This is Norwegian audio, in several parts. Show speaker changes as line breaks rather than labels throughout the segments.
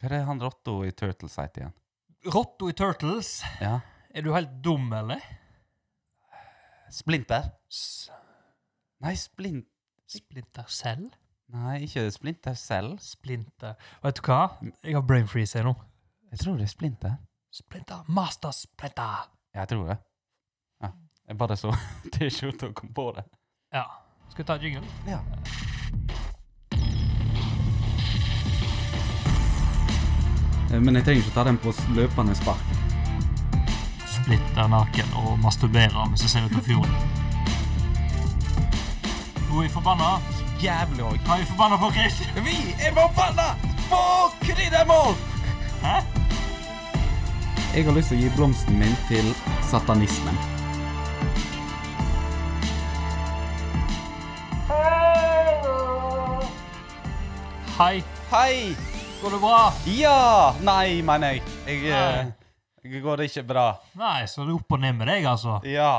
Hva er det han Rotto i Turtles heter igjen?
Rotto i Turtles.
Ja.
Er du helt dum, eller?
Splinter?
S
Nei, Splint...
Splinter Cell?
Nei, ikke Splinter selv.
Splinter Vet du hva? Jeg har brain freeze her nå.
Jeg tror det er Splinter.
Splinter, Master Splinter.
Ja, jeg tror det. Ja. Jeg bare så T-skjorta og kom på det.
Ja. Skal vi ta jingle?
Ja. Eh, Men jeg trenger ikke ta den på løpende spark.
Splitter naken og masturberer mens jeg ser ut av fjorden. Nå er jeg forbanna.
Jævlig òg.
Hva er vi forbanna på, Chris?
Vi er forbanna på kryddermål!
Hæ?
Jeg har lyst til å gi blomsten min til satanismen.
Hei.
Hei!
Går det bra?
Ja! Nei, mener jeg. Jeg, eh, jeg går det ikke bra.
Nei, så er det opp og ned med deg, altså.
Ja.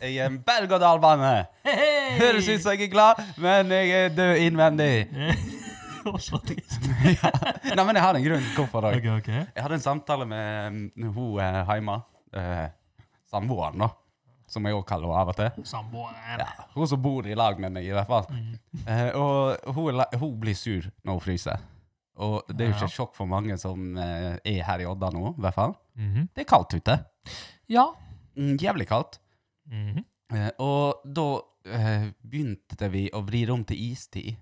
Jeg er en berg-og-dal-bane.
Hei, hei!
Høres ut som jeg er glad, men jeg er død innvendig.
Og så trist.
ja. Nei, men jeg har en grunn til hvorfor òg.
Ok, ok.
Jeg hadde en samtale med mm, hun eh, hjemme. Eh, Samboeren, da. Som jeg òg kaller henne av og til.
Samboeren.
Ja, hun som bor i lag med meg, i hvert fall. Eh, og hun, er la- hun blir sur når hun fryser. Og det er jo ikke et sjokk for mange som eh, er her i Odda nå, i hvert fall.
Mhm.
Det er kaldt ute.
Ja.
Mm, jævlig kaldt.
Mhm.
Eh, og da eh, begynte vi å vri det om til istid.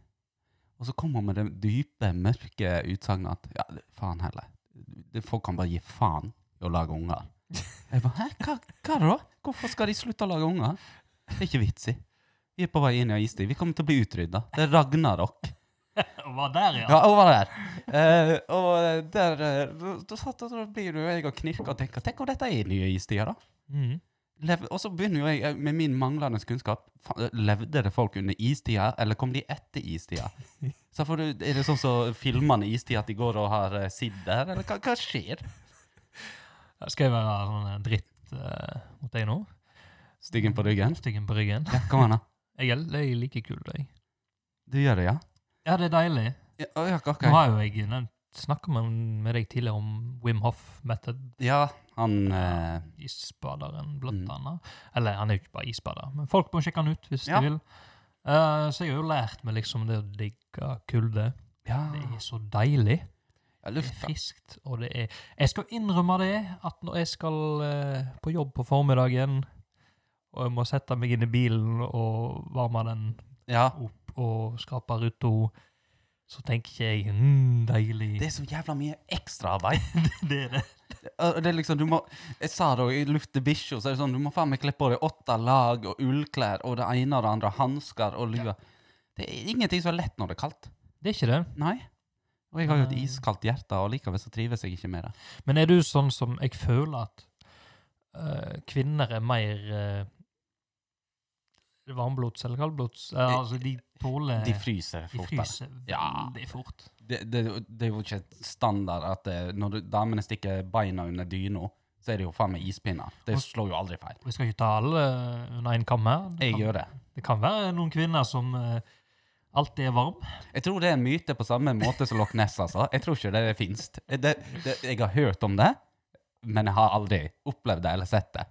Og så kom hun med det dype, mørke utsagnet at ja, det- faen heller. Det, folk kan bare gi faen i å lage unger. Jeg bare, hæ, hva, hva da? Hvorfor skal de slutte å lage unger? Det er ikke vits i. Vi er på vei inn i ei istid. Vi kommer til å bli utrydda. Det er ragnarok.
Og var der, ja.
Ja, over der. Eh, og der eh, da- Da satt jeg og blir jo jeg og knirker og tenker Tenk om dette er nye istider, da?
Mhm.
Lev, og så begynner jo jeg eh, med min manglende kunnskap. Fa- eh, Levde det folk under istida, eller kom de etter istida? Så får du, er det sånn som filmene i istida, at de går og har eh, sidder, eller hva, hva skjer?
Skal jeg være sånn eh, dritt eh, mot deg nå?
Styggen på ryggen?
Styggen på ryggen.
Ja, kom an, da.
Jeg er, jeg er like kul, jeg.
Du gjør det, ja?
Ja, det er deilig.
Ja, å, ja, ok.
Nå har jo jeg nevnt, snakket med, med deg tidligere om Wim Hof method,
ja han eh,
isbaderen, blant
Mm.
annet. Eller, han er jo ikke bare isbader, men folk må sjekke han ut hvis
Ja.
de vil. Eh, så jeg har jo lært meg liksom det å digge kulde.
Ja,
Det er så deilig.
ja
Det er
lufta.
friskt, og det er Jeg skal innrømme det, at når jeg skal eh, på jobb på formiddagen, og jeg må sette meg inn i bilen og varme den
Ja.
opp og skape ruta, så tenker ikke jeg mm, deilig.
Det er så jævla mye ekstraarbeid.
det er det.
Og Det er liksom, du må, jeg sa det òg, i Lufte bikkja, så er det sånn, du må faen meg kle på deg åtte lag og ullklær og det ene og det andre, hansker og lua. Det er ingenting som er lett når det er kaldt.
Det er ikke det.
Nei. Og jeg har jo et
Nei.
iskaldt hjerte, og likevel så trives jeg ikke med det.
Men er du sånn som jeg føler at eh, kvinner er mer eh, varmblods eller kaldblods? Eh,
Eh,
altså, de tåler
De fryser
de
fortere.
fryser
Ja.
veldig fort.
Det, det, det er jo ikke et standard at det, når du, damene stikker beina under dyna, så er det jo faen meg ispinner. Det
Og-
slår jo aldri feil.
Vi skal ikke ta alle under én kam her. Det
Jeg
kan-
gjør det.
Det kan være noen kvinner som eh, alltid er varm.
Jeg tror det er en myte på samme måte som Loch Ness, altså. Jeg tror ikke det fins. Det, det, jeg har hørt om det, men jeg har aldri opplevd det eller sett det.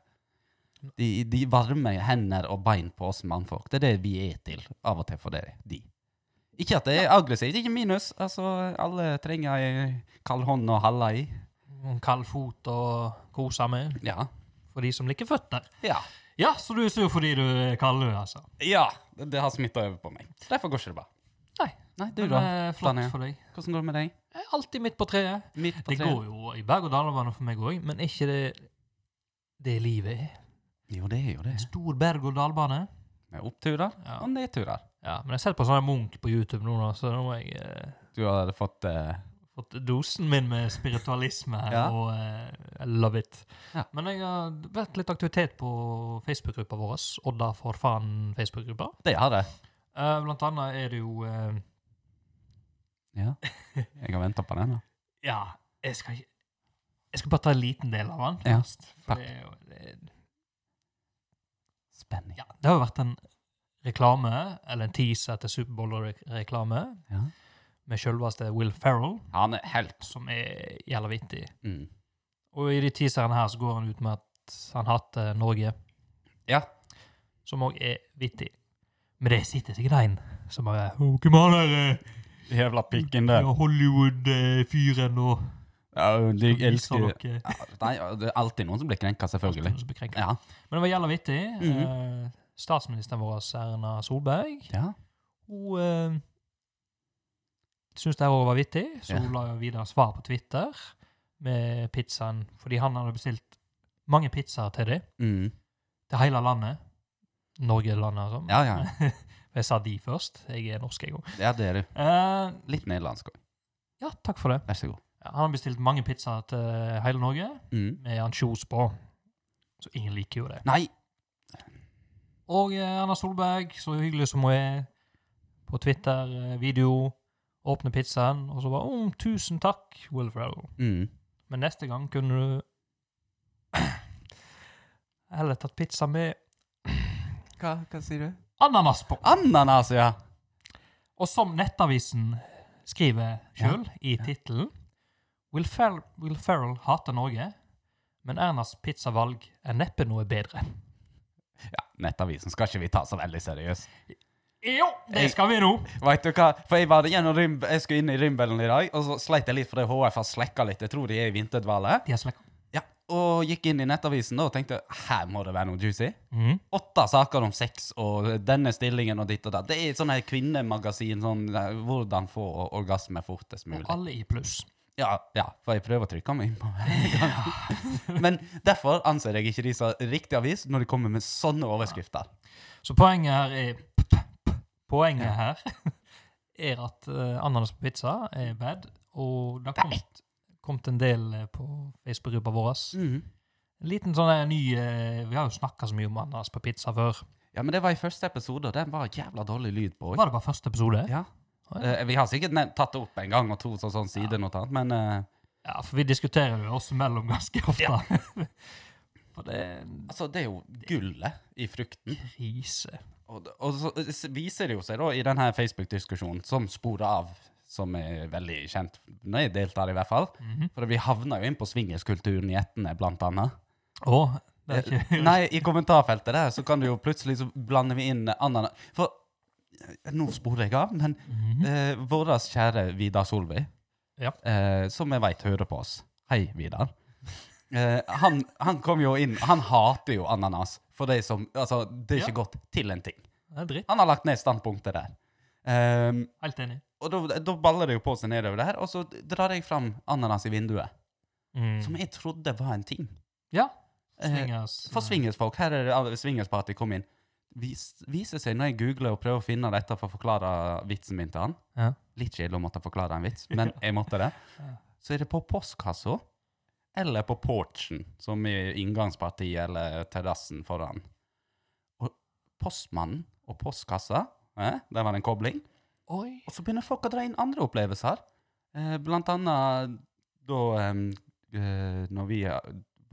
De, de varme hender og bein på oss mannfolk, det er det vi er til av og til for det, de. Ikke at det er aggressivt, ikke minus. Altså, alle trenger ei kald hånd å holde i.
En kald fot å kose med
Ja.
for de som liker føtter.
Ja.
Ja, så du er sur fordi du er kald, du, altså.
ja det, det har smitta over på meg. Derfor går ikke det bra.
Nei.
Nei, du
Men,
da?
eh, flott
Daniel?
for deg.
Hvordan går det med deg?
Jeg er alltid midt på treet.
Midt på
Det
treet?
går jo i berg-og-dal-bane for meg òg, men er ikke det det livet er?
Jo, det er jo det.
Stor berg-og-dal-bane.
Med oppturer
Ja.
og nedturer.
ja, men jeg ser på sånn Munch på YouTube nå, da, så nå må jeg eh,
Du har fått eh,
fått dosen min med spiritualisme her,
Ja.
og eh, I love it.
Ja.
Men jeg har vært litt aktivitet på Facebook-gruppa vår, Odda for faen Facebook-gruppa.
Det har jeg.
Eh, blant annet er det jo eh,
Ja. Jeg har venta på den. da.
Ja, jeg skal ikke Jeg skal bare ta en liten del av den
Ja,
først. for
takk.
det, er jo- det,
Spenning.
ja, det har jo vært en reklame, eller en teaser til Superbowl-reklame,
Ja.
med selveste Will Ferrell,
Han er helt
som er jævla vittig.
mm.
Og i de teaserne her så går han ut med at han hater Norge,
Ja.
som òg er vittig. Men det sitter sikkert en som bare «Å, Hvem er han der?
Jævla pikken
Ja, Hollywood-fyren og
Ja, de
viser
elsker
dere.
ja, Nei, det er alltid noen som blir krenka, selvfølgelig.
Som blir krenket.
Ja.
Men det var jævla vittig.
Mhm.
Eh, Statsministeren vår, Erna Solberg,
ja.
hun eh, syntes det her òg var vittig, så
Ja.
hun la jo videre svar på Twitter med pizzaen, fordi han hadde bestilt mange pizzaer til dem,
Mm.
til hele landet. Norge-landet, altså.
Ja, ja.
Jeg sa de først. Jeg er norsk, jeg òg.
ja, det er du.
Eh,
Litt nederlandsk òg.
ja, takk for det.
Vær så god.
Ja, Han har bestilt mange pizzaer til hele Norge
Mm.
med ansjos på. Så ingen liker jo det.
Nei!
Og eh, Erna Solberg, så hyggelig som hun er, på Twitter, eh, video, åpner pizzaen, og så bare oh, 'Tusen takk, Will Ferrell'.
Mm.
Men neste gang kunne du heller tatt pizza med
Hva, hva sier du?
ananas på.
Ananas, ja!
Og som Nettavisen skriver sjøl i
Ja.
tittelen Will, Fer Will Ferrell hater Norge, men Ernas pizzavalg er neppe noe bedre.
Ja, Nettavisen skal ikke vi ta så veldig seriøst.
Jo, det skal vi nå!
Vet du hva? For jeg, var gjennom Rym- jeg skulle inn i Rimbelen i dag, og så sleit jeg litt fordi HF har slekka litt. Jeg tror de er i vinterdvale.
De har slekka.
Ja, Og gikk inn i Nettavisen da og tenkte her må det være noe juicy.
Mhm.
Åtte saker om sex og denne stillingen og ditt og datt. Det er sånn her kvinnemagasin. sånn eh, Hvordan få orgasme fortest mulig.
Og alle i pluss.
Ja, ja, for jeg prøver å trykke meg innpå hver gang. Men derfor anser jeg ikke de som riktig avis når de kommer med sånne overskrifter.
Så poenget her er p- p- p- Poenget her er at eh, ananas på pizza er bad, og det har kommet, kommet en del eh, på Facebook-gruppa vår.
Mhm.
En liten sånn her ny eh, Vi har jo snakka så mye om ananas på pizza før.
Ja, men det var i første episode, og den var jævla dårlig lyd på.
Var det bare første episode?
Ja.
Oi.
Eh, vi har sikkert nevnt- tatt det opp en gang og to sånn, sånn sidenotat, men eh,
Ja, for vi diskuterer jo oss imellom ganske ofte. for det er en
altså, det er jo gullet i frukten.
krise.
Og, og så s- viser det jo seg da i denne Facebook-diskusjonen, som sporer av, som er veldig kjent når jeg deltar, i hvert fall.
Mhm.
For vi havna jo inn på swingerskulturen i Etne, blant annet. Eh,
Å, det er ikke
Nei, i kommentarfeltet der så kan du jo plutselig så blander vi inn ananas For eh, nå sporer jeg av, men
Mhm.
eh, vår kjære Vidar Solveig,
Ja.
eh, som jeg veit hører på oss Hei, Vidar. Eh, han, han kom jo inn Han hater jo ananas. For det som Altså, det er ikke godt til en ting.
Det er dritt.
Han har lagt ned standpunktet der. Ehm,
Helt enig.
og da, da baller det jo på seg nedover der, og så drar jeg fram ananas i vinduet.
Mm.
Som jeg trodde var en ting.
Ja.
Eh,
Swingers.
for swingersfolk. Her er det alle swingersparty kom inn. Vis, viser seg når jeg googler og prøver å finne dette for å forklare vitsen min til han.
Ja.
Litt kjedelig å måtte forklare en vits, men jeg måtte det.
Ja.
Så er det på postkassa eller på porchen, som i inngangspartiet eller terrassen foran. Og postmannen og postkassa, eh, der var det en kobling.
Oi.
Og så begynner folk å dra inn andre opplevelser. Eh, blant annet da em, eh, Når vi, eh,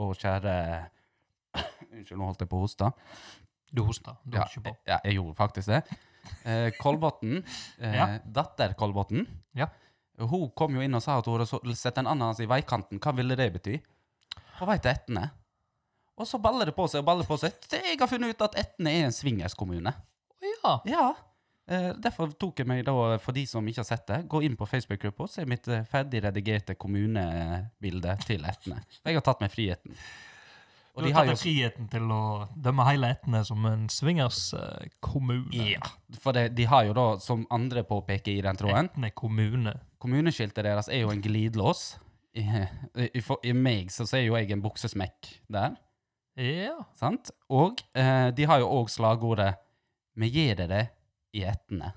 vår kjære Unnskyld, nå holdt jeg på å hoste.
Du hoster. Du
Ja,
har ikke på.
ja, jeg gjorde faktisk det. Eh, Kolbotn, eh,
Ja.
datter Kolbotn,
Ja.
hun kom jo inn og sa at hun hadde så- sett en ananas i veikanten. Hva ville det bety? Hun veit Etne. Og så baller det på seg og baller på seg. til Jeg har funnet ut at Etne er en swingerskommune.
Ja.
Ja. Eh, derfor tok jeg meg da, for de som ikke har sett det, gå inn på Facebook-gruppa og se mitt eh, ferdigredigerte kommunebilde til Etne. Jeg har tatt meg friheten.
Du har tatt deg friheten til å dømme hele Etne som en swingers-kommune.
Ja, for det, de har jo da, som andre påpeker i den tråden,
Etne kommune.
kommuneskiltet deres er jo en glidelås. I, eh, i, for, I meg så ser jo jeg en buksesmekk der,
Ja.
sant? Og eh, de har jo òg slagordet 'Vi gir deg det i Etne'.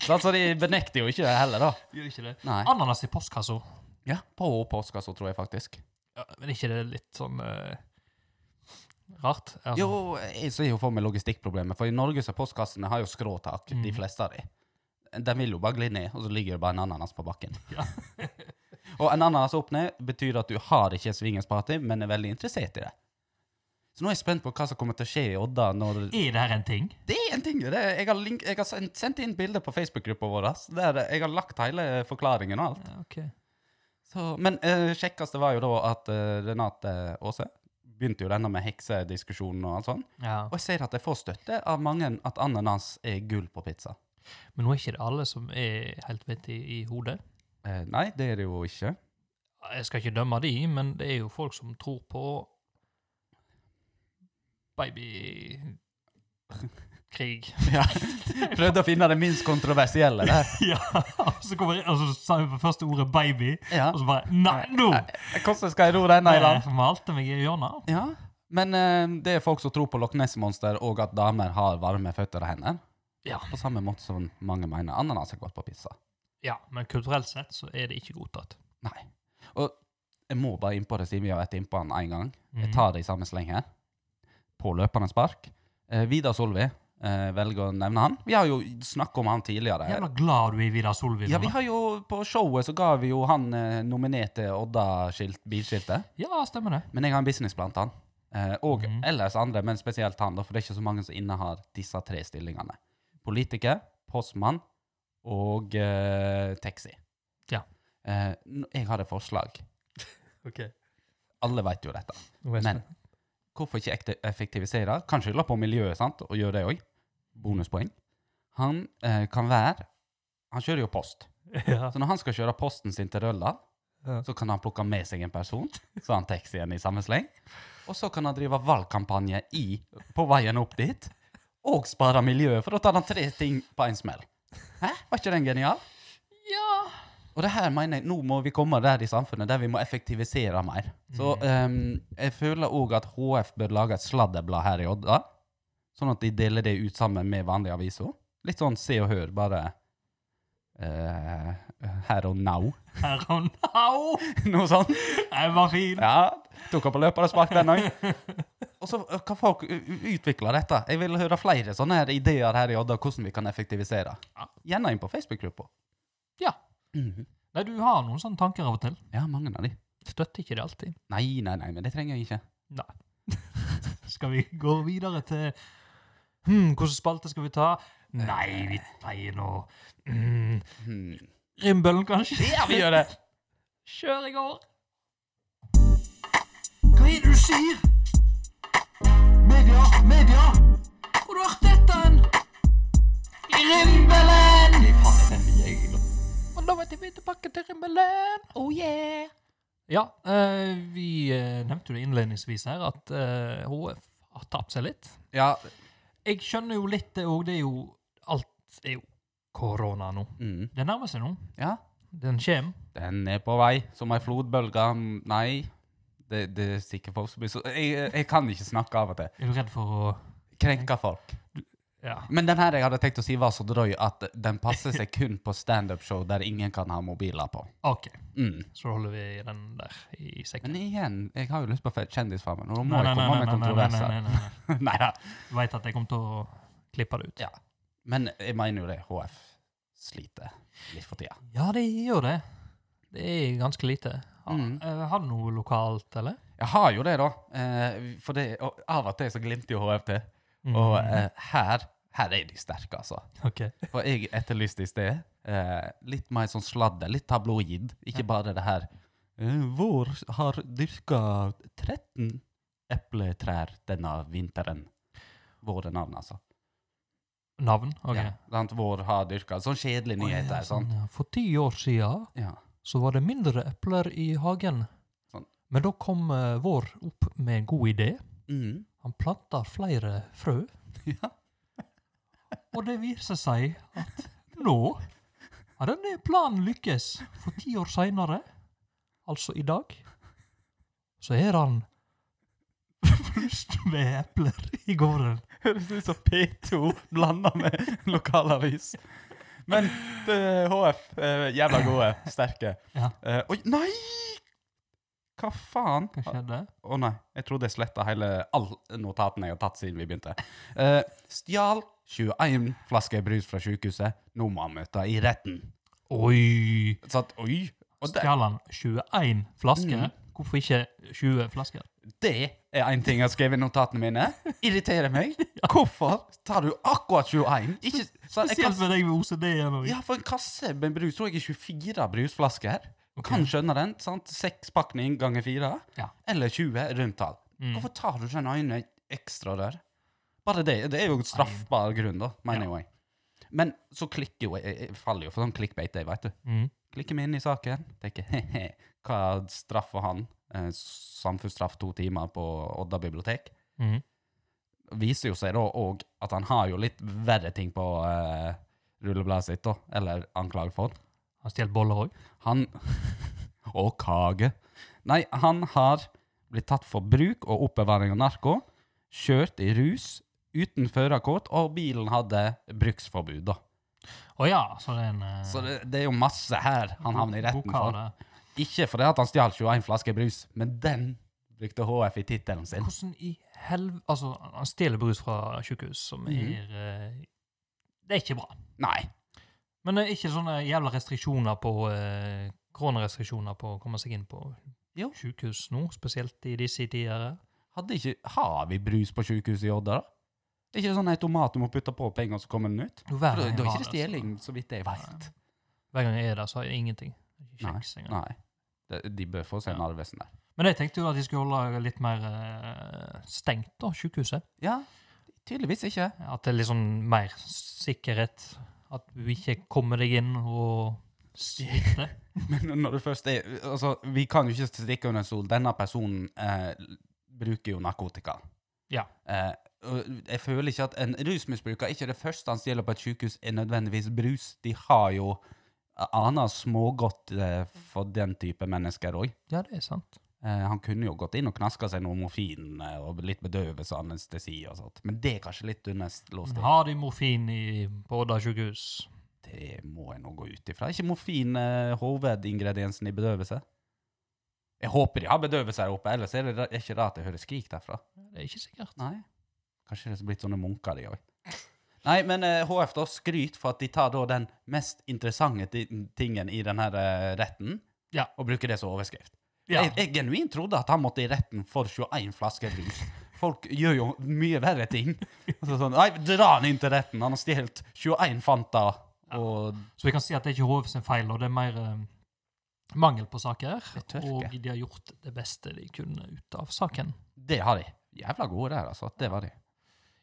Så altså, de benekter jo ikke det heller, da.
Gjør ikke det.
Nei.
Ananas i postkassa.
Ja, på påska så tror jeg faktisk.
Ja, men er ikke det litt sånn eh, rart? Altså,
Jo, jeg ser jo for meg logistikkproblemet, for i Norge så postkassene har jo skråtak, de
Mm.
fleste av de. Den vil jo bare gli ned, og så ligger det bare en ananas på bakken.
Ja.
og en ananas opp ned betyr at du har ikke et swingersparty, men er veldig interessert i det. Så nå er jeg spent på hva som kommer til å skje i Odda når
Er det her en ting?
Det er en ting! Det er, jeg har, link, jeg har sendt, sendt inn bilder på Facebook-gruppa vår der jeg har lagt hele forklaringen og alt.
Ja, ok.
Så, men eh, kjekkeste var jo da at eh, Renate Aase begynte jo denne med heksediskusjonen og alt sånt.
Ja.
Og jeg ser at jeg får støtte av mange at ananas er gull på pizza.
Men nå er ikke det alle som er helt vidt i, i hodet.
Eh, nei, det er det jo ikke.
Jeg skal ikke dømme de, men det er jo folk som tror på babykrig.
Ja. Prøvde å finne det minst kontroversielle der.
ja, og så kommer jeg, og så sa jeg på første ordet baby,
Ja.
og så bare Nei, nå!
Hvordan skal jeg ro denne i land?
Jeg malte meg i hjørnet.
Ja. Men eh, det er folk som tror på Loch Ness-monster og at damer har varme føtter og hender.
Ja.
På samme måte som mange mener ananas er godt på pizza.
Ja, men kulturelt sett så er det ikke godtatt.
Nei. Og jeg må bare innpå det siden vi har vært innpå han én gang. Jeg
Mhm.
tar det i samme sleng her. På løpende spark. Eh, Vidar Solvi. Eh, velger å nevne han. Vi har jo snakket om han tidligere.
Jævla glad du er i Vidar Solvi.
Ja,
nå,
vi
da.
har jo, På showet så ga vi jo han eh, nominert til Odda-bilskiltet.
ja, stemmer det.
Men jeg har en businessplan til han. Eh, og
Mhm.
ellers andre, men spesielt han, da, for det er ikke så mange som innehar disse tre stillingene. Politiker, postmann og eh, taxi.
Ja.
Eh, n- jeg har et forslag.
Ok.
Alle vet jo dette. Men hvorfor ikke ekte- effektivisere? Kan skylde på miljøet sant? og gjøre det òg. Bonuspoeng. Han eh, kan være Han kjører jo post.
ja.
Så når han skal kjøre posten sin til Rølla,
Ja.
så kan han plukke med seg en person, så han taxien i samme sleng. Og så kan han drive valgkampanje i, på veien opp dit, og spare miljøet, for da tar han tre ting på en smell. Hæ? Var ikke den genial?
ja.
Og det her mener jeg, nå må vi komme der i samfunnet, der vi må effektivisere mer. Så
Mm.
ehm, jeg føler òg at HF bør lage et sladderblad her i Odda, sånn at de deler det ut sammen med vanlige aviser. Litt sånn Se og Hør, bare eh, her og now.
Her og nå!
Noe sånt.
Jeg var fin!
Ja, tok opp og løper og spark den òg. Og så eh, kan folk u- u- utvikle dette. Jeg vil høre flere sånne her ideer her i Odda, hvordan vi kan effektivisere.
Ja.
Gjerne inn på Facebook-gruppa.
Ja.
Mhm.
Nei, du har noen sånne tanker av og til.
Ja, mange av de.
Støtter ikke det alltid.
Nei, nei, nei, men det trenger jeg ikke.
Skal vi gå videre til Hm, hvordan spalte skal vi ta? Nei, vi pleier nå mm,
Hmm.
Rimbølen, kanskje?
Ja, vi gjør det!
Kjør i går! Hva er det du sier? Media, media! Hvor har du hørt dette hen? I Rimbelen! Og da vet jeg vi er tilbake til Rimbelen! Oh yeah! Ja, eh, vi eh, nevnte jo det innledningsvis her, at eh, HF har tapt seg litt.
Ja.
Jeg skjønner jo litt det òg, det er jo Alt er jo korona nå.
Mm.
Det nærmer seg nå.
ja.
Den kommer.
Den er på vei, som ei flodbølge. Mm, Nei. Det, det er sikkert folk som blir så jeg, jeg kan ikke snakke av og til.
Er du redd for å
Krenke folk.
Ja.
Men den her jeg hadde tenkt å si, var så drøy at den passer seg kun på standup-show der ingen kan ha mobiler på.
OK.
Mm.
Så holder vi den der i sekken.
Men igjen, jeg har jo lyst på Kjendisfarmen, og da må
Nei, nei,
jeg
nei,
komme
nei,
med
nei, nei, nei,
kontroverser.
nei, nei, nei.
Neida.
Du vet at jeg kommer til å klippe det ut.
Ja. Men jeg mener jo det, HF sliter litt for tida.
Ja, det gjør det. Det er ganske lite. Ha-
Mm.
eh, Har du noe lokalt, eller?
Jeg har jo det, da. Eh, for det, og av og til så glimter jo HF til.
Mm.
Og eh, her, her er de sterke, altså.
Ok.
For jeg etterlyste i sted eh, litt mer sånn sladder, litt tabloid. Ikke bare det her eh, Vår har dyrka 13 epletrær denne vinteren. Våre navn, altså.
Navn? Ok.
Ja, sant? Vår har dyrka. Sånn kjedelige nyheter.
Å, ja,
sånn.
ja. For ti år siden
Ja.
så var det mindre epler i hagen.
Sånn.
Men da kom eh, Vår opp med en god idé.
Mm.
Han planta flere frø.
Ja.
Og det viser seg at nå har denne planen lykkes. For ti år seinere, altså i dag, så er han flust med epler i gården.
Høres ut som P2 blanda med lokalavis. Men det, HF, eh, jævla gode, sterke.
Ja.
Eh, oi, nei! Hva faen?
Hva skjedde?
Å nei, jeg trodde jeg sletta hele all notatene jeg har tatt siden vi begynte. Eh, stjal 21 flasker brus fra sykehuset. Nå må han møte i retten.
Oi!
Så at, oi, og det,
Stjal han 21 flasker?
Mhm.
Hvorfor ikke 20 flasker?
Det er en ting jeg har skrevet i notatene mine. Irriterer meg. Hvorfor tar du akkurat 21? Ikke, så jeg kan-
Spesielt med deg med OCD. igjen, og-
ja, for en kasse med brus tror jeg er 24 brusflasker. Kan skjønne den. sant? Seks pakning ganger fire.
Ja.
Eller 20 rundtall.
Mm.
Hvorfor tar du ikke en øyne ekstra der? Bare det. Det er jo straffbar grunn, da, mener jo jeg. Men så klikker jo jeg- jeg, jeg faller jo for sånn clickbait, jeg, veit du.
Mm.
Klikker meg inn i saken, tenker he-he, hva straffer han? Eh, samfunnsstraff to timer på Odda bibliotek.
Mm.
Viser jo seg da òg at han har jo litt verre ting på eh, rullebladet sitt, da. Eller anklaget for.
Har stjålet boller òg.
Han Og kage. Nei, han har blitt tatt for bruk og oppbevaring av narko, kjørt i rus, uten førerkort, og bilen hadde bruksforbud, da.
Å ja, så det er en eh,
Så det, det er jo masse her han havner i retten for.
bokhavn, eh.
Ikke fordi at han stjal 21 flasker brus, men den brukte HF i tittelen sin.
Hvordan i helv... Altså, han stjeler brus fra sykehus, som
Mhm.
er eh, Det er ikke bra.
Nei.
Men det er ikke sånne jævla restriksjoner på eh, Koronarestriksjoner på å komme seg inn på
Jo.
sykehus nå, spesielt i disse tider.
Hadde ikke, har vi brus på sykehuset i Odda, da? Det er ikke sånn automat du må putte på penger, så kommer den ut?
Jo,
Da
hver
da
gang
er
jeg
ikke
har altså.
det
så-
stjeling, så vidt jeg veit.
Hver gang jeg er der, så har jeg ingenting. Ikke
Nei,
kjeks engang.
Nei. De, de bør få seg en arvesen der.
Men jeg tenkte jo at de skulle holde litt mer eh, stengt, da, sykehuset.
Ja, tydeligvis ikke.
At det er litt sånn mer sikkerhet. At du ikke kommer deg inn og smitter.
Men når du først er Altså, vi kan jo ikke stikke under en stol. Denne personen eh, bruker jo narkotika.
Ja.
Eh, og jeg føler ikke at en rusmisbruker ikke det første han stjeler på et sykehus, er nødvendigvis brus. De har jo annet smågodt eh, for den type mennesker òg.
Ja, det er sant.
Eh, han kunne jo gått inn og knaska seg noe morfin eh, og litt bedøvelse og anestesi og sånt. Men det er kanskje litt under låst
Men har de morfin i, på Odda sykehus?
Det må jeg nå gå ut ifra. Er ikke morfin eh, hovedingrediensen i bedøvelse? Jeg håper de har bedøvelse her oppe, ellers er det ra- er ikke rart jeg hører skrik derfra.
Det er ikke sikkert.
Nei. Kanskje det er blitt sånne munker, de òg. Nei, men eh, HF da skryt for at de tar da den mest interessante ti- tingen i denne retten,
Ja.
og bruker det som overskrift.
Ja.
Jeg, jeg genuint trodde at han måtte i retten for 21 flasker brus. Folk gjør jo mye verre ting. Så sånn, nei, dra han inn til retten! Han har stjålet 21 Fanta og
Så vi kan si at det er ikke HV sin feil, og det er mer eh, mangel på saker.
Det er tørke.
Og de har gjort det beste de kunne ut av saken.
Det har de. Jævla gode der, altså. Det var de.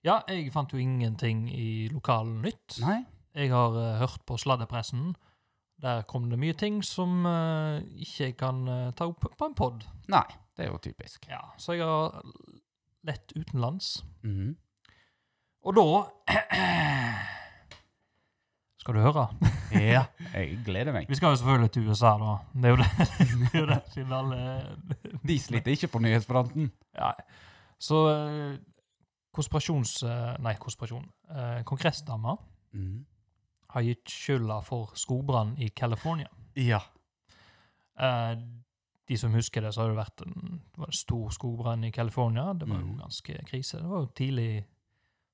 Ja, jeg fant jo ingenting i lokalen nytt.
Nei.
Jeg har eh, hørt på sladdepressen. Der kom det mye ting som eh, ikke jeg kan eh, ta opp på en pod.
Nei, det er jo typisk.
Ja, så jeg har lett utenlands.
Mhm.
Og da Skal du høre?
Ja, jeg gleder meg.
Vi skal jo selvfølgelig til USA, da. Det er jo det, det, er jo det siden alle
De sliter ikke på nyhetsfronten.
Ja. Så eh, konspirasjons... eh, Nei, konspirasjon. Eh, Kongressdama
Mhm.
har gitt skylda for skogbrann i California.
Ja.
Eh, De som husker det, så har det vært en, det var en stor skogbrann i California. Det var jo
Mhm.
ganske krise. Det var jo tidlig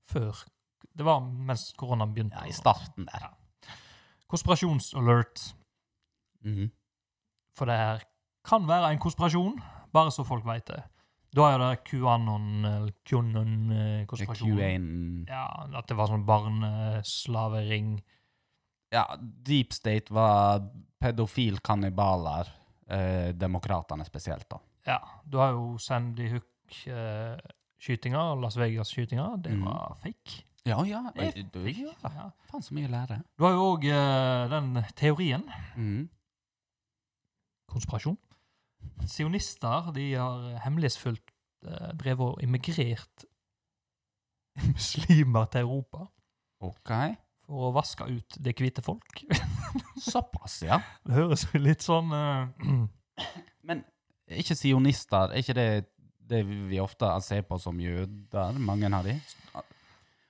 før Det var mens koronaen begynte.
ja. I starten der.
Konspirasjonsalert,
Mhm.
for det her kan være en konspirasjon, bare så folk veit det. Da er det QAnon, eller QAnon-konspirasjonen.
Q1
Ja, at det var sånn barneslavering.
Ja, Deep State var pedofilkannibaler. Eh, Demokratene spesielt, da.
Ja, du har jo Sandy Hook-skytinga, Las Vegas-skytinga. Det
Mhm.
var fake.
Ja, ja.
Det
eh,
er
Du, ja.
Ja.
Faen, så mye å lære.
Du har jo òg eh, den teorien,
Mhm.
konspirasjon, at sionister de har hemmelighetsfullt eh, drevet og immigrert muslimer til Europa
OK.
for å vaske ut det hvite folk.
Såpass, ja.
Det høres jo litt sånn eh,
Men er ikke sionister Er ikke det det vi ofte ser på som jøder? Mange av de.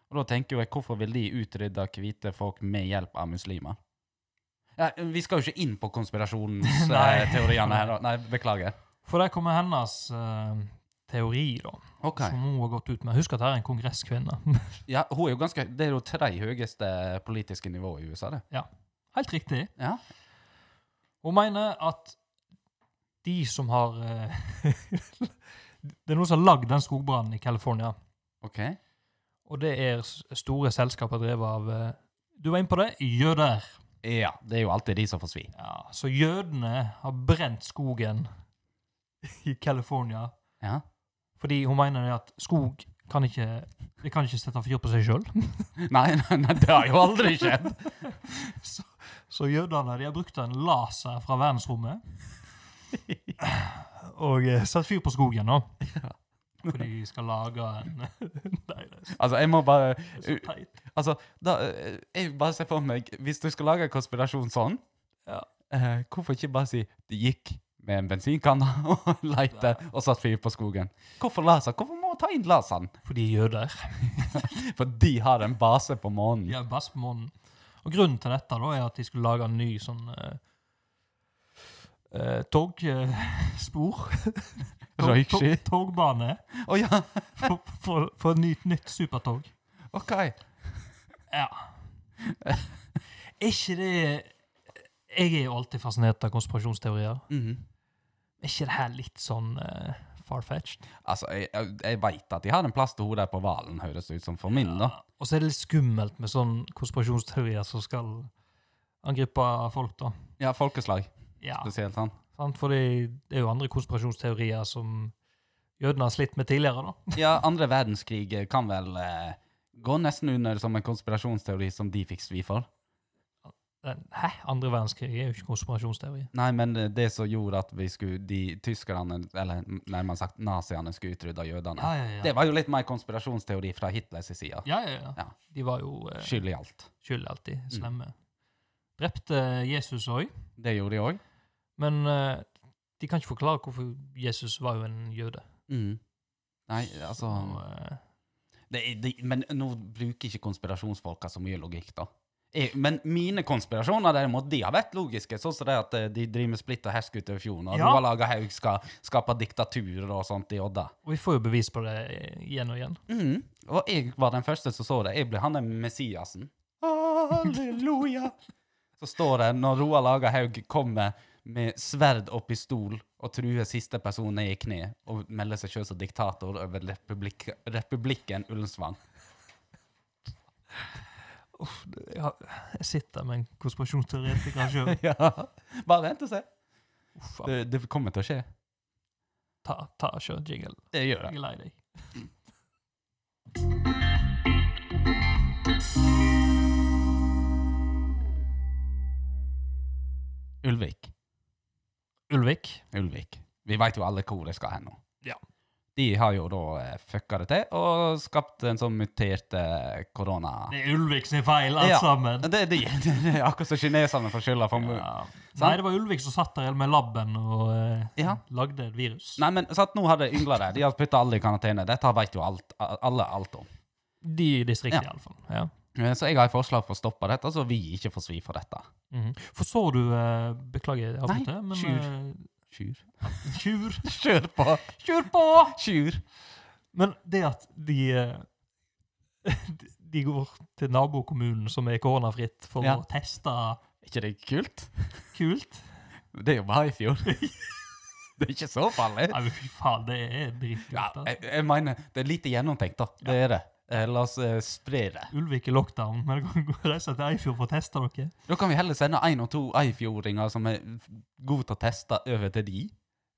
Og da tenker jo jeg, hvorfor vil de utrydde hvite folk med hjelp av muslimer? Ja, vi skal jo ikke inn på
Nei.
konspirasjonsteoriene her. da. Nei, beklager.
For der kommer hennes eh, teori, da,
Ok.
som hun har gått ut med. Husk at her er en kongresskvinne.
Ja, hun er jo ganske, Det er jo tre høyeste politiske nivå i USA, det.
Helt riktig.
Ja.
Hun mener at de som har eh, Det er noen som har lagd den skogbrannen i California.
OK?
Og det er s- store selskaper drevet av eh, Du var inne på det jøder.
Ja, det er jo alltid de som får svi.
Ja, så jødene har brent skogen i California
Ja.
fordi hun mener det at skog kan ikke Det kan ikke sette fyr på seg sjøl.
Nei, nei, nei, det har jo aldri skjedd.
Så jødene de har brukt en laser fra verdensrommet og eh, satt fyr på skogen nå. Fordi de skal lage en Nei, det er så-
Altså, jeg må bare
det er så teit.
Altså, da, eh, jeg bare ser for meg, hvis du skal lage en konspirasjon sånn,
Ja.
eh, hvorfor ikke bare si, det gikk med en bensinkanne og leite og satt fyr på skogen? Hvorfor laser? Hvorfor må man ta inn laseren?
Fordi de er jøder.
For de har en base på månen.
De er best på månen. Og grunnen til dette da er at de skulle lage en ny sånn eh, eh, togspor.
Røyksky.
Tog- Togbane.
Å ja,
For, for, for et nytt, nytt supertog.
ok.
Ja. Er ikke det Jeg er jo alltid fascinert av konspirasjonsteorier.
Mhm.
Er ikke det her litt sånn uh, far-fetched?
Altså, jeg, jeg- jeg vet at de har en plass til hodet på valen, høres det ut som for min da.
Og så er det litt skummelt med sånn konspirasjonsteorier som skal angripe folk, da.
Ja, folkeslag,
Ja,
spesielt sånn.
sant? Fordi det er jo andre konspirasjonsteorier som jødene har slitt med tidligere, da.
Ja, andre verdenskrig eh, kan vel eh, gå nesten under som en konspirasjonsteori som de fikk svi for.
Den- Hæ? Andre verdenskrig er jo ikke konspirasjonsteori.
Nei, men eh, det som gjorde at vi skulle, de tyskerne, eller nærmere sagt naziene, skulle utrydde jødene,
Ja, ja,
det
ja.
var jo litt mer konspirasjonsteori fra Hitlers side.
Ja, ja, ja. Mm.
Ja.
De var jo eh,
Skyld i alt.
skyld alltid. Slemme. Drepte Jesus òg,
Det gjorde de òg.
men eh, de kan ikke forklare hvorfor Jesus var jo en jøde.
Mm. Nei, altså
Så, eh,
det, er- det, Men nå bruker ikke konspirasjonsfolka så mye logikk, da. Jeg, men mine konspirasjoner derimot, de har vært logiske. Sånn som det at eh, de driver med splitt og hersk utover fjorden, og
Ja.
Roald Aga Haug skal skape diktatur og sånt i Odda.
Og vi får jo bevis på det eh, igjen og igjen.
Mm. Og jeg var den første som så det. Jeg ble han der Messiasen. Halleluja! Så står det, når Roald Aga Haug kommer med sverd og pistol og truer siste person ned i kne og melder seg sjøl som diktator over republik republikken Ullensvang.
Uff, det- jeg har- jeg sitter med en konspirasjonsteoretiker sjøl.
Ja. Bare vent og se. Det, det kommer til å skje.
Ta, ta, kjør jingle.
Det gjør
Jeg
det.
er lei deg.
Ulvik.
Ulvik.
Ulvik. Vi veit jo alle hvor det skal hen nå.
Ja.
De har jo da eh, fucka det til og skapt en sånn mutert eh, korona...
Det er Ulvik sin feil, alt
Ja.
sammen.
Det, det, det, det er akkurat som kineserne får skylda for.
Ja. Nei, det var Ulvik som satt der med labben og eh,
Ja.
lagde et virus.
Nei, men sant, nå har de yngla der. De har putta alle i karantene. Dette vet jo alt, alle alt om.
De i distriktet,
Ja.
iallfall. Ja.
Eh, Så jeg har et forslag for å stoppe dette, så vi ikke får svi for dette.
Mhm. For så du eh, Beklager, jeg avbryter, men
tjur.
eh,
Tjur.
Tjur.
Kjør på!
Tjur på!
Tjur.
Men det at de eh, De går til nabokommunen som er koronafritt, for
Ja.
å teste
Er ikke det kult?
kult
Det er jo bare i fjor. Det er ikke så farlig.
Nei, men fy faen, det er
Ja,
dritkult.
jeg, jeg mener, det er lite gjennomtenkt, da. Det er det. Eh, La oss eh, spre det.
Ulvik er lockdown, men dere kan gå og reise til Eifjord for å teste dere.
Da kan vi heller sende én og to eifjordinger som er gode til å teste, over til de.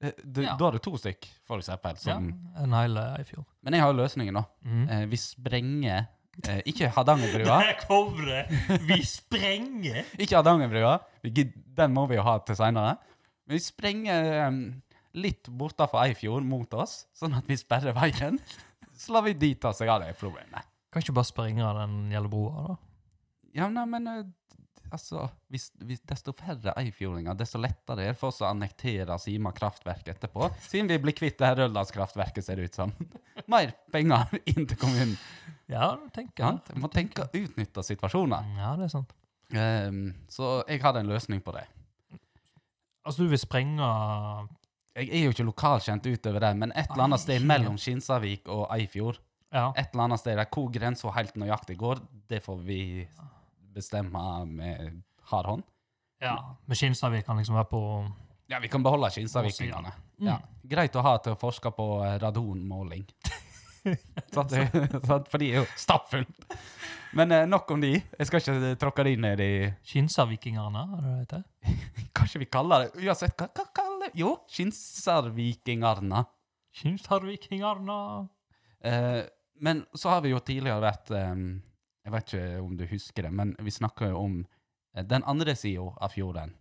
Eh, du-
Ja.
Da har du to stykk, for eksempel. Som,
Mm. En hel Eifjord.
Men jeg har jo løsningen, da.
Mm.
Eh, vi sprenger eh, Ikke Hardangerbrua.
Der kom det! Vi sprenger!
ikke Hardangerbrua. Vi gid- Den må vi jo ha til seinere. Men vi sprenger em, litt bortafor Eifjord mot oss, sånn at vi sperrer veien. Så lar vi de ta seg av det problemet.
Kan ikke bare sprenge den gjelder broa, da?
Ja, nei, men eh, altså hvis, hvis Desto færre eifjordinger, desto lettere er det for oss å annektere Sima kraftverk etterpå. Siden vi blir kvitt det her Røldalskraftverket, ser det ut som. Mer penger inn til kommunen.
Ja, tenker
Ja,
jeg.
vi må tenke å utnytte situasjoner.
Ja, det er sant.
Ehm, så jeg hadde en løsning på det.
Altså, du vil sprenge
Jeg er jo ikke lokalkjent utover det, men et eller annet sted
Nei.
mellom Kinsarvik og Eifjord,
Ja.
et eller annet sted der hvor grensa helt nøyaktig går, det får vi bestemme med hard hånd.
ja. Med Kinsarvik kan liksom være på
Ja, vi kan beholde Kinstadvikingene. Ja. Greit å ha til å forske på eh, radonmåling. sant? sant? For de er jo stappfullt. Men eh, nok om de. Jeg skal ikke eh, tråkke de ned i
Kinsa-vikingerne, har du det heter?
Kanskje vi kaller det Uansett, hva, hva kaller det? Jo, Kinsarvikingarna.
Kinsa-vikingerne.
Eh, men så har vi jo tidligere vært eh, Jeg vet ikke om du husker det, men vi snakka jo om eh, den andre sida av fjorden.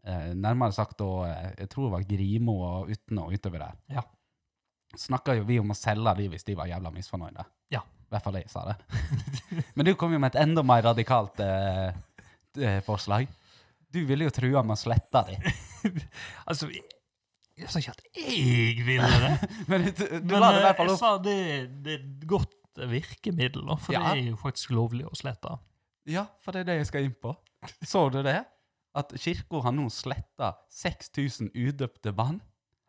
Eh, nærmere sagt da eh, Jeg tror det var Grimo og Utne og utover der.
Ja.
Snakka jo vi om å selge de hvis de var jævla misfornøyde.
Ja.
I hvert fall jeg sa det. men du kom jo med et enda mer radikalt eh, eh, forslag. Du ville jo trua med å slette de.
Altså, jeg, jeg sa ikke at jeg ville det,
Men du, du
men
la det i
eh,
hvert fall
jeg
opp.
sa det, det er et godt virkemiddel, da, for
Ja.
det er jo faktisk lovlig å slette.
Ja, for det er det jeg skal inn på. Så du det? At kirka har nå sletta 6000 udøpte barn.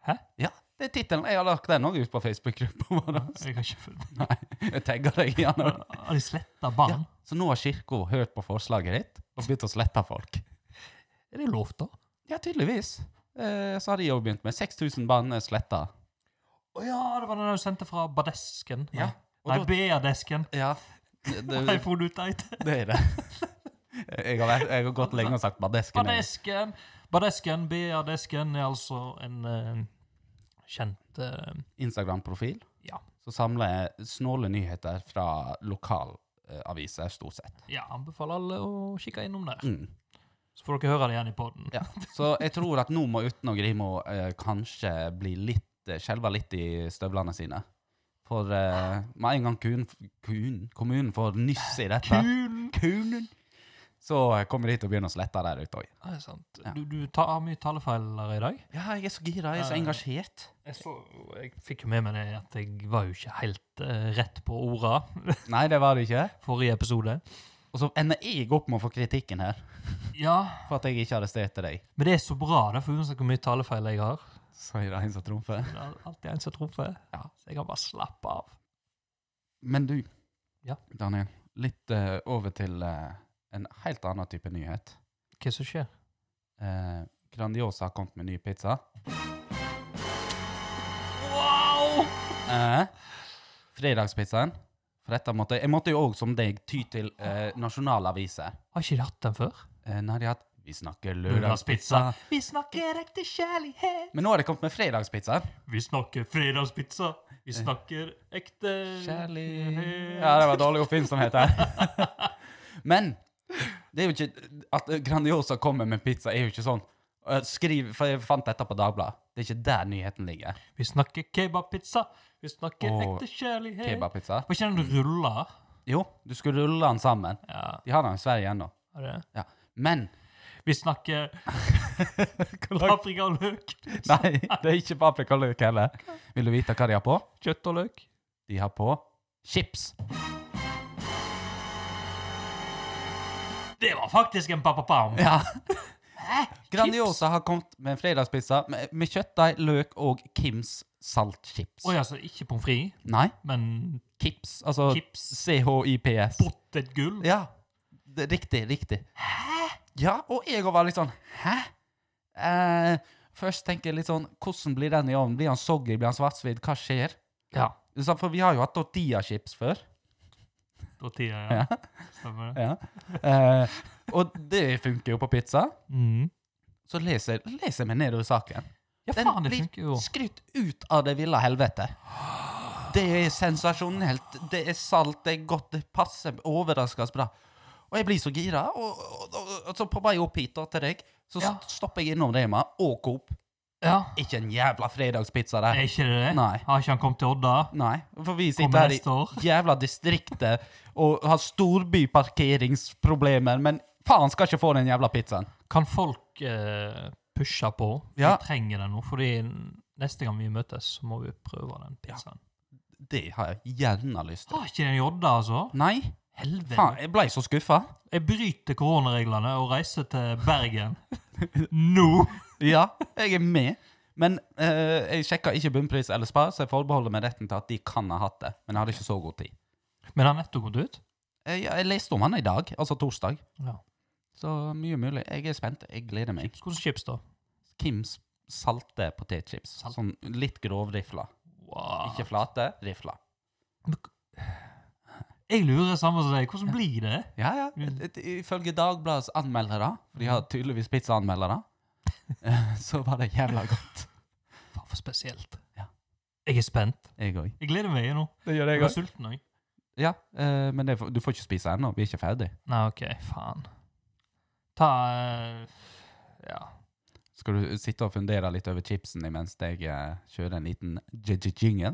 Hæ?
Ja, det er tittelen. Jeg har lagt den òg ut på Facebook-gruppa vår.
Jeg har ikke fulgt
Nei, jeg tagger deg i den. også.
Har de sletta barn?
Så nå har kirka hørt på forslaget ditt og begynt å slette folk.
Er det lov, da?
Ja, tydeligvis. Eh, så har de òg begynt med 6000 barn er sletta.
Å ja, det var den du sendte fra Badesken. Nei,
Ja, og
Nei
da-
BA-desken.
Ja, det,
Har
det,
jeg funnet ut det?
det er det. Jeg har, vært, jeg har gått lenge og sagt badesken. jeg.
Badesken. Badesken, BA-desken, er altså en eh, kjent eh,
Instagram-profil.
ja,
så samler jeg snåle nyheter fra lokalaviser, stort sett.
ja, anbefaler alle å kikke innom der.
Mm.
Så får dere høre det igjen i poden.
Ja. Så jeg tror at nå må Uten og Grimo eh, kanskje bli litt, eh, skjelve litt i støvlene sine. For eh, med en gang kun, kun, kommunen får nyss i dette,
Kun!
kunen, så kommer de til å begynne å slette der ute òg.
Ja, det er sant.
Ja.
Du, du tar har mye talefeiler i dag.
Ja, jeg er så gira, jeg er så engasjert.
Jeg, så, jeg fikk jo med meg det at jeg var jo ikke helt eh, rett på orda
Nei, det var det ikke.
forrige episode.
Og så ender jeg opp med å få kritikken her
Ja,
for at jeg ikke arresterte deg.
Men det er så bra, da, for uansett hvor mye talefeil jeg har,
Sier det en som trumfer.
Det er alltid en som trumfer.
Ja.
Så jeg kan bare slappe av.
Men du,
Ja.
Daniel, litt eh, over til eh, en helt annen type nyhet.
Hva som skjer?
Eh, Grandiosa har kommet med ny pizza.
Wow!
Eh, fredagspizzaen. For dette måtte, jeg måtte jo òg, som deg, ty til eh, nasjonalaviser.
Har ikke de hatt den før?
Eh, nei, de har hatt Vi snakker lørdagspizza.
Vi snakker ekte kjærlighet.
Men nå har de kommet med fredagspizza.
Vi snakker fredagspizza. Vi snakker ekte
Ja, det var dårlig oppfinnsomhet her. Men det er jo ikke at Grandiosa kommer med pizza, er jo ikke sånn. Eh, Skriv, for jeg fant dette på Dagbladet. Det er ikke der nyheten ligger.
Vi snakker kebabpizza. Vi snakker
Åh,
ekte kjærlighet.
Kebabpizza.
Var ikke den rulla?
Jo, du skulle rulle den sammen.
Ja,
De har den i Sverige ennå.
var det?
Ja. Men
Vi snakker paprika og løk.
Nei, det er ikke paprikaløk heller. Vil du vite hva de har på?
Kjøtt og løk.
De har på chips.
Det var faktisk en papapam.
Ja. Grandiosa har kommet med en fredagspizza med, med kjøttdeig, løk og Kims saltchips.
Oi, altså, ikke pommes frites,
Nei,
men
Kips. Altså
Kips.
C-H-I-P-S.
potetgull.
Ja. Det, riktig, riktig. Hæ? Ja, og jeg var litt sånn Hæ? Eh, først tenker jeg litt sånn Hvordan blir den i ovnen? Blir han soggy? Blir han svartsvidd? Hva skjer?
Ja.
Så, for vi har jo hatt tortillachips før.
Tortilla, ja.
Ja.
Stemmer det.
Ja. Eh, og det funker jo på pizza.
Mm.
Så leser jeg- leser jeg meg nedover saken.
Ja,
Den
faen, det
blir
funker jo.
skrytt ut av det ville helvete. Det er sensasjonelt. Det er salt, det er godt, det passer overraskende bra. Og jeg blir så gira. Og, og, og, og så på vei opp hit da, til deg, så
Ja.
st- stopper jeg innom Rema og Coop.
Ja.
Ikke en jævla fredagspizza
Er
der.
ikke det det?
Nei.
Har ikke han kommet til Odda?
Nei, for vi sitter
Kommer
her i
neste år?
jævla distriktet og har storbyparkeringsproblemer, men faen skal ikke få den jævla pizzaen.
Kan folk eh, pushe på? Vi
Ja.
trenger det nå, fordi neste gang vi møtes, så må vi prøve den pizzaen.
Det har jeg gjerne lyst til.
Har ikke den i Odda, altså?
Nei,
Helvete.
faen, jeg blei så skuffa.
Jeg bryter koronareglene og reiser til Bergen. nå!
Ja, jeg er med. Men eh, jeg sjekka ikke bunnpris eller spar, så jeg forbeholder meg retten til at de kan ha hatt det. Men jeg hadde ikke så god tid.
Men har nettopp gått ut?
Jeg, jeg leste om han i dag, altså torsdag.
Ja.
Så mye mulig. Jeg er spent. Jeg gleder meg.
Hvordan chips, da?
Kims salte potetchips. Sånn litt grovrifla.
Wow.
Ikke flate, rifla.
Jeg lurer sammen som deg. Hvordan blir det?
Ja, ja.
Mm.
Et- Ifølge Dagbladets anmeldere, for de har tydeligvis pizzaanmeldere, eh, så var det jævla godt.
Faen, for spesielt.
Ja.
Jeg er spent.
Jeg òg.
Jeg gleder meg jeg, nå.
Det gjør
Jeg er sulten òg.
Ja, eh, men det, får- du får ikke spise ennå. Vi er ikke ferdig.
Nei, OK, faen. Ta eh, Ja.
Skal du sitte og fundere litt over chipsen imens jeg eh, kjører en liten j-j-jingle?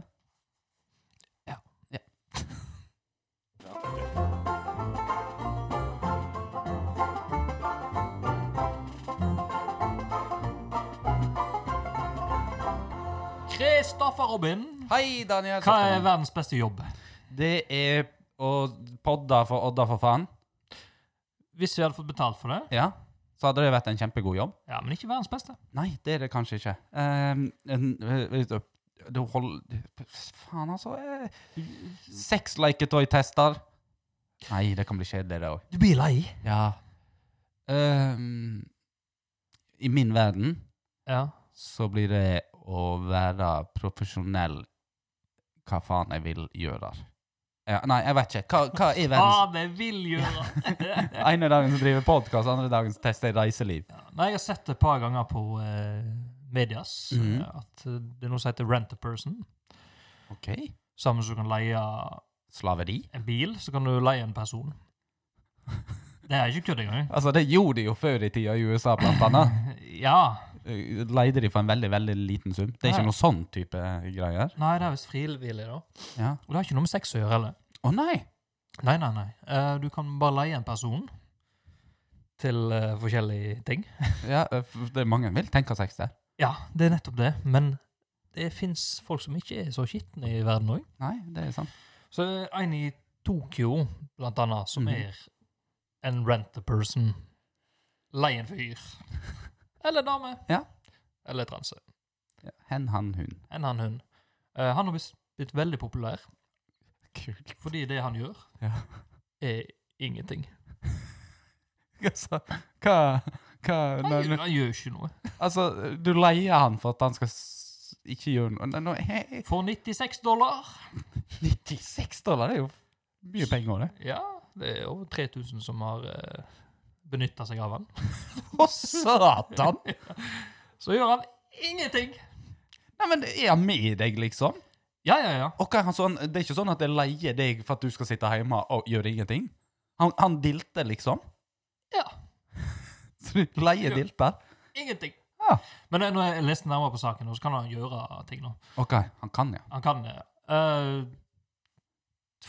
Ja.
ja.
Kristoffer Robin,
Hei, Daniel.
hva er
Søstermann.
verdens beste jobb?
Det er å podde for Odda, for faen.
Hvis vi hadde fått betalt for det?
Ja. Så hadde det vært en kjempegod jobb.
Ja, men ikke verdens beste.
Nei, det er det kanskje ikke. Um, en- vet du, du hold... Faen, altså. eh, Sexleketøytester. Nei, det kan bli kjedelig, det òg.
Du blir lei.
Ja. Ehm, I min verden
Ja.
så blir det å være profesjonell hva faen jeg vil gjøre. Ja, nei, jeg vet ikke. Hva, hva er verdens
Faen, jeg vil gjøre
Ene dagen så driver podkast, andre dagen så tester jeg reiseliv.
Ja, Nei, jeg har sett det et par ganger på eh, medias,
Mhm.
eh, at eh, det er noe som heter rent a person.
Ok.
Sammen så kan du leie
Slaveri?
en bil, så kan du leie en person. Det er ikke kødd engang.
Altså, det gjorde de jo før i tida i USA, blant annet.
Ja.
Eh, Leide de for en veldig, veldig liten sum. Det er
Ja.
ikke noe sånn type greier.
Nei, det er visst frivillig, da.
Ja.
Og det har ikke noe med sex å gjøre heller.
Å nei!
Nei, nei, nei. Eh, du kan bare leie en person til eh, forskjellige ting.
Ja, eh, f- det er mange vil tenke sex der.
Ja, det er nettopp det. Men det fins folk som ikke er så skitne i verden òg.
Nei, det er sant.
Så det er en i Tokyo, blant annet, som
Mhm.
er en rent-a-person. Leie en fyr. Eller dame.
Ja.
Eller transe.
Ja. Hen, han, hun.
En han hun. Eh, han har visst blitt veldig populær,
Kult.
fordi det han gjør,
Ja.
er ingenting.
Altså, hva, hva
Han,
når,
gjør- han gjør ikke noe.
Altså, du leier han for at han skal s ikke gjøre noe Nei, nå, he,
For 96 dollar
96 dollar det er jo mye penger, det.
Ja, det er over 3000 som har uh, benytta seg av han.
Å, satan!
Så gjør han ingenting!
Nei, men Er han med deg, liksom?
Ja, ja, ja.
Og hva er han sånn, Det er ikke sånn at jeg leier deg for at du skal sitte hjemme og gjøre ingenting? Han, han dilter, liksom?
Ja.
Så du leier dilter?
Ingenting.
Ja.
Men eh, når jeg leste nærmere på saken, nå, så kan han gjøre ting nå.
OK, han kan, ja.
Han kan det. Eh,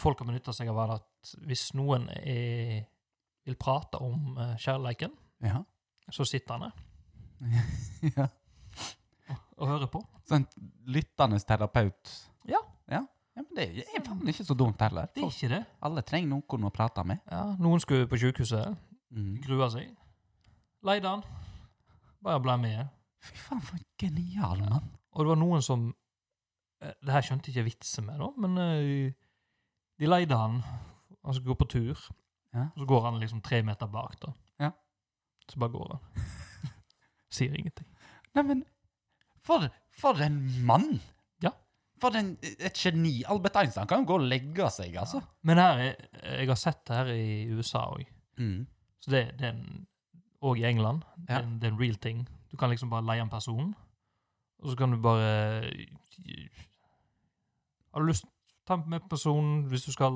folk har benytta seg av det at hvis noen er, vil prate om eh, kjærleiken,
Ja.
så sitter han der
ja.
og hører på.
Sånn lyttende terapeut.
Ja.
ja. Ja, men Det er faen ikke så dumt heller.
Det er ikke det.
Alle trenger noen å prate med.
Ja, noen skulle på sjukehuset,
Mhm.
grua seg. Leide han. Bare ble med.
Fy faen, for en genial mann.
Og det var noen som eh, Det her skjønte jeg ikke vitsen med, da, men eh, de leide han. Han skulle gå på tur.
Ja.
Og så går han liksom tre meter bak, da.
Ja.
Så bare går han. Sier ingenting.
Nei, men for, for en mann!
Ja.
For en, et geni. Albert Einstein kan jo gå og legge seg, altså.
Men her er, jeg har sett det her i USA òg.
Mm.
Så det, det er en Og i England. Det,
Ja.
er en, det er en real ting. Du kan liksom bare leie en person, og så kan du bare Har du lyst Ta med personen hvis du skal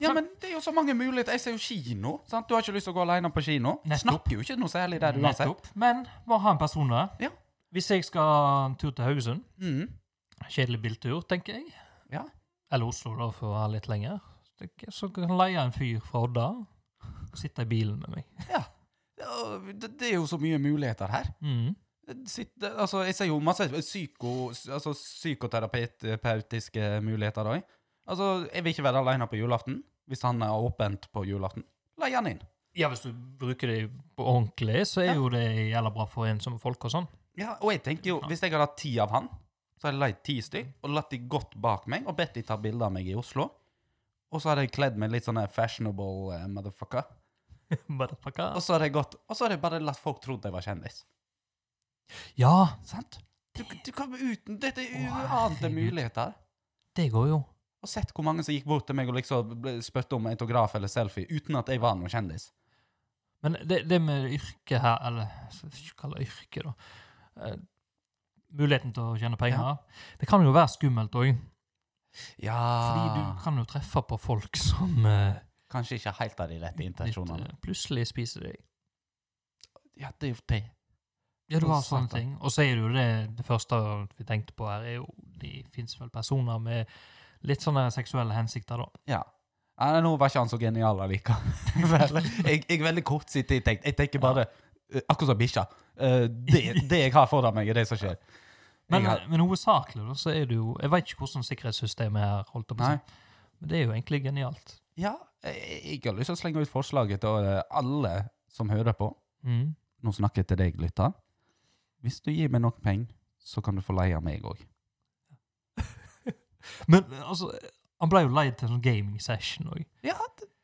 Ja, men det er jo så mange muligheter. Jeg ser jo kino. sant? Du har ikke lyst til å gå alene på kino.
Nettopp.
Snakker jo ikke noe særlig der uansett.
Nettopp. Men bare ha en person der.
Ja.
Hvis jeg skal en tur til Haugesund,
Mm.
kjedelig biltur, tenker jeg.
Ja.
Eller Oslo, da, for å være litt lenger. Så tenker jeg, Så kan jeg leie en fyr fra Odda og sitte i bilen med meg.
Og Det, det er jo så mye muligheter her.
Mm.
Sitte, altså, jeg ser jo masse psyko, altså, psykoterapeutiske muligheter òg. Altså, jeg vil ikke være alene på julaften. Hvis han er åpent på julaften, leie han inn.
Ja, hvis du bruker det på ordentlig, så er jo det jævla bra for ensomme folk og sånn.
Ja, og jeg tenker jo, hvis jeg hadde hatt ti av han, så hadde jeg leid ti stykk, og latt de godt bak meg, og bedt de ta bilder av meg i Oslo. Og så hadde jeg kledd meg litt sånn her fashionable eh, motherfucker.
Motherfucker.
Og så hadde jeg gått, og så hadde jeg bare latt folk tro at jeg var kjendis.
Ja,
Sant? Du, du kan uten Dette er uante
herregud.
muligheter.
det går jo.
Og sett hvor mange som gikk bort til meg og liksom ble- spurte om autograf eller selfie uten at jeg var noen kjendis.
Men det, det med yrke her, eller hva skal jeg kalle det yrke, da. Eh, muligheten til å tjene penger. Det kan jo være skummelt òg.
Ja
Fordi du kan jo treffe på folk som eh,
Kanskje ikke helt av de rette intensjonene.
utnytter- plutselig spiser deg.
eh, Ja, det er jo det.
Ja, du har sånne
Satan.
ting. Og så er det jo det, det første vi tenkte på her, er jo det fins vel personer med litt sånne seksuelle hensikter, da.
Ja. Nei, nå var ikke han så genial allikevel. jeg, jeg er veldig kortsiktig tenkt. Jeg tenker bare eh, Akkurat som bikkja. Eh, det, det jeg har foran meg, er det som skjer.
Men,
Jeg har-
men hovedsakelig, da, så er det jo Jeg veit ikke hvordan sikkerhetssystemet er her, holdt jeg på å si. Men det er jo egentlig genialt.
Ja, jeg, jeg har lyst til å slenge ut forslaget til eh, alle som hører på.
Mm.
Nå snakker jeg til deg, lytter. Hvis du gir meg nok penger, så kan du få leie meg òg.
Men altså, han ble jo leid til en sånn gaming session òg.
Ja,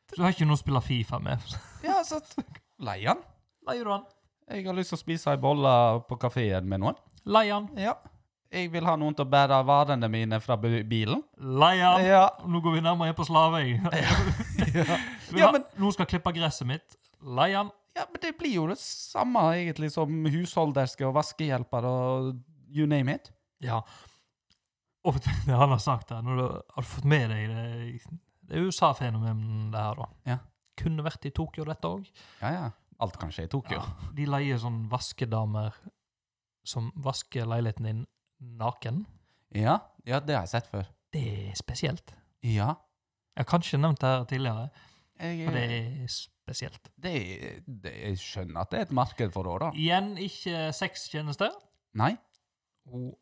Så du har ikke noen å spille Fifa med.
ja, så Leie han.
Leier du han?
Jeg har lyst til å spise ei bolle på kafeen med noen.
Leier han?
Ja. Jeg vil ha noen til å bære varene mine fra bu- bilen.
Leier han?
Ja.
Nå går vi nærmere på slavøy.
Ja, men-
Nå skal jeg klippe gresset mitt. Leier han?
Ja, men det blir jo det samme egentlig som husholderske og vaskehjelper og you name it.
Ja. Og vet du, det han har sagt her, når du har du fått med deg det, det er USA-fenomenet det her, da.
Ja.
Kunne vært i Tokyo, dette òg.
Ja, ja. Alt kan skje i Tokyo.
De leier sånn vaskedamer som vasker leiligheten din naken.
Ja, ja, det har jeg sett før.
Det er spesielt.
Ja.
Jeg har kanskje nevnt det her tidligere,
Jeg,
for det er spesielt.
det, det, jeg skjønner at det er et marked for det, da.
Igjen ikke sextjeneste.
Nei,
Hun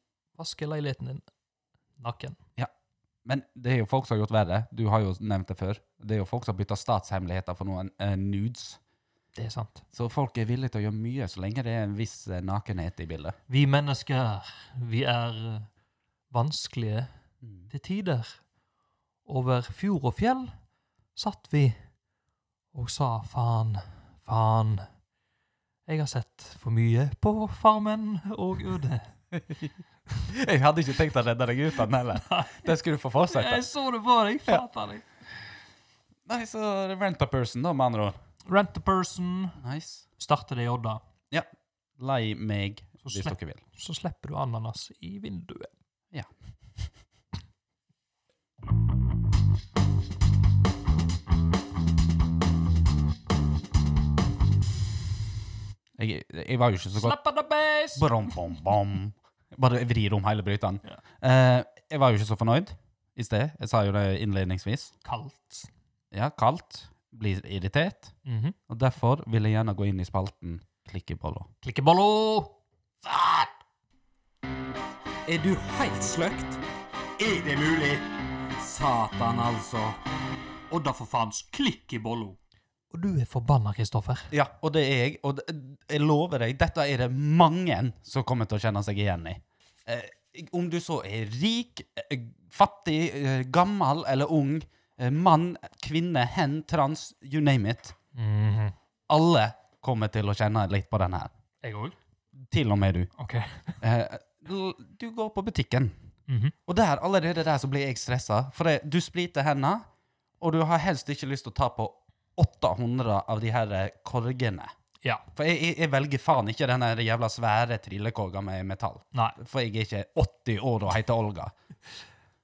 vasker leiligheten din naken.
men det er jo folk som har gjort verre. Du har jo nevnt det før. Det er jo folk som har bytta statshemmeligheter for noen eh, nudes.
Det er sant.
Så folk er villige til å gjøre mye så lenge det er en viss eh, nakenhet i bildet.
Vi mennesker, vi er eh, vanskelige
Mm.
til tider. Over fjord og fjell satt vi og sa faen, faen. Jeg har sett for mye på Farmen og Øde.
Jeg hadde ikke tenkt å redde deg ut av den heller. Det skulle du få fortsette.
Jeg så det på deg, fatter deg.
Nei, så rent-a-person, da, med andre ord.
Rent a person,
Nice.
starte det i Odda.
Lei meg
Så
hvis
slett-
dere vil.
så slipper du ananas i vinduet.
Ja. Jeg, jeg var jo ikke så godt
Slipper the base!
Brom, bom, bom. Bare vrir om hele bryteren.
Ja.
Eh, jeg var jo ikke så fornøyd i sted. Jeg sa jo det innledningsvis.
Kaldt.
Ja, kaldt. Blir irritert.
Mhm.
Og derfor vil jeg gjerne gå inn i spalten Klikkebolla.
Klikkebollo! Faen!
Er du heilt sløkt? Er det mulig? Satan, altså. Og da for faens klikk i bollo.
Og du er forbanna, Kristoffer.
Ja, og det er jeg. Og det, jeg lover deg, dette er det mange som kommer til å kjenne seg igjen i. Eh, om du så er rik, eh, fattig, eh, gammel eller ung, eh, mann, kvinne, hen, trans, you name it.
Mhm.
Alle kommer til å kjenne litt på den her.
Jeg òg.
Til og med du.
OK.
Eh, l- du går på butikken,
Mhm.
og der, allerede der så blir jeg stressa. For det, du spliter hendene, og du har helst ikke lyst til å ta på 800 av de her eh, korgene.
Ja.
For jeg, jeg, jeg velger faen ikke den der jævla svære trillekorga med metall.
Nei.
For jeg er ikke 80 år og heter Olga.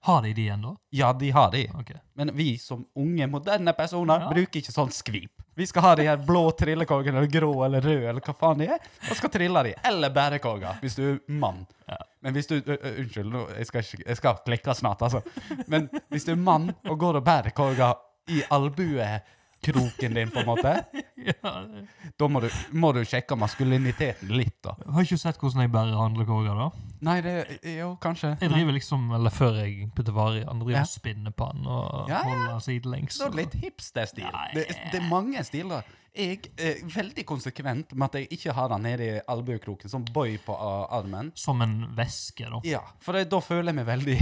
Har de de ennå?
Ja, de har de.
OK.
Men vi som unge, moderne personer
Ja.
bruker ikke sånn skvip. Vi skal ha de her blå trillekorgene, eller grå eller røde, eller hva faen de er, og skal trille de. Eller bærekorga, hvis du er mann.
Ja.
Men hvis du ø, ø, Unnskyld, nå, jeg, skal ikke, jeg skal klikke snart, altså. Men hvis du er mann og går og bærer korga i albuekroken din, på en måte,
Ja.
da må du, må du sjekke maskuliniteten litt, da.
Har ikke sett hvordan jeg bærer handlekorger, da.
Nei, det Jo, kanskje.
Jeg driver liksom, eller før jeg putter varer i, han driver
Ja.
og spinner på han og
Ja, ja.
holder sidelengs.
Så
og-
litt hipster-stil.
Nei.
Det, det er mange stiler. Jeg er veldig konsekvent med at jeg ikke har den nede i albuekroken, som bøy på uh, armen.
Som en væske, da.
Ja, for det, da føler jeg meg veldig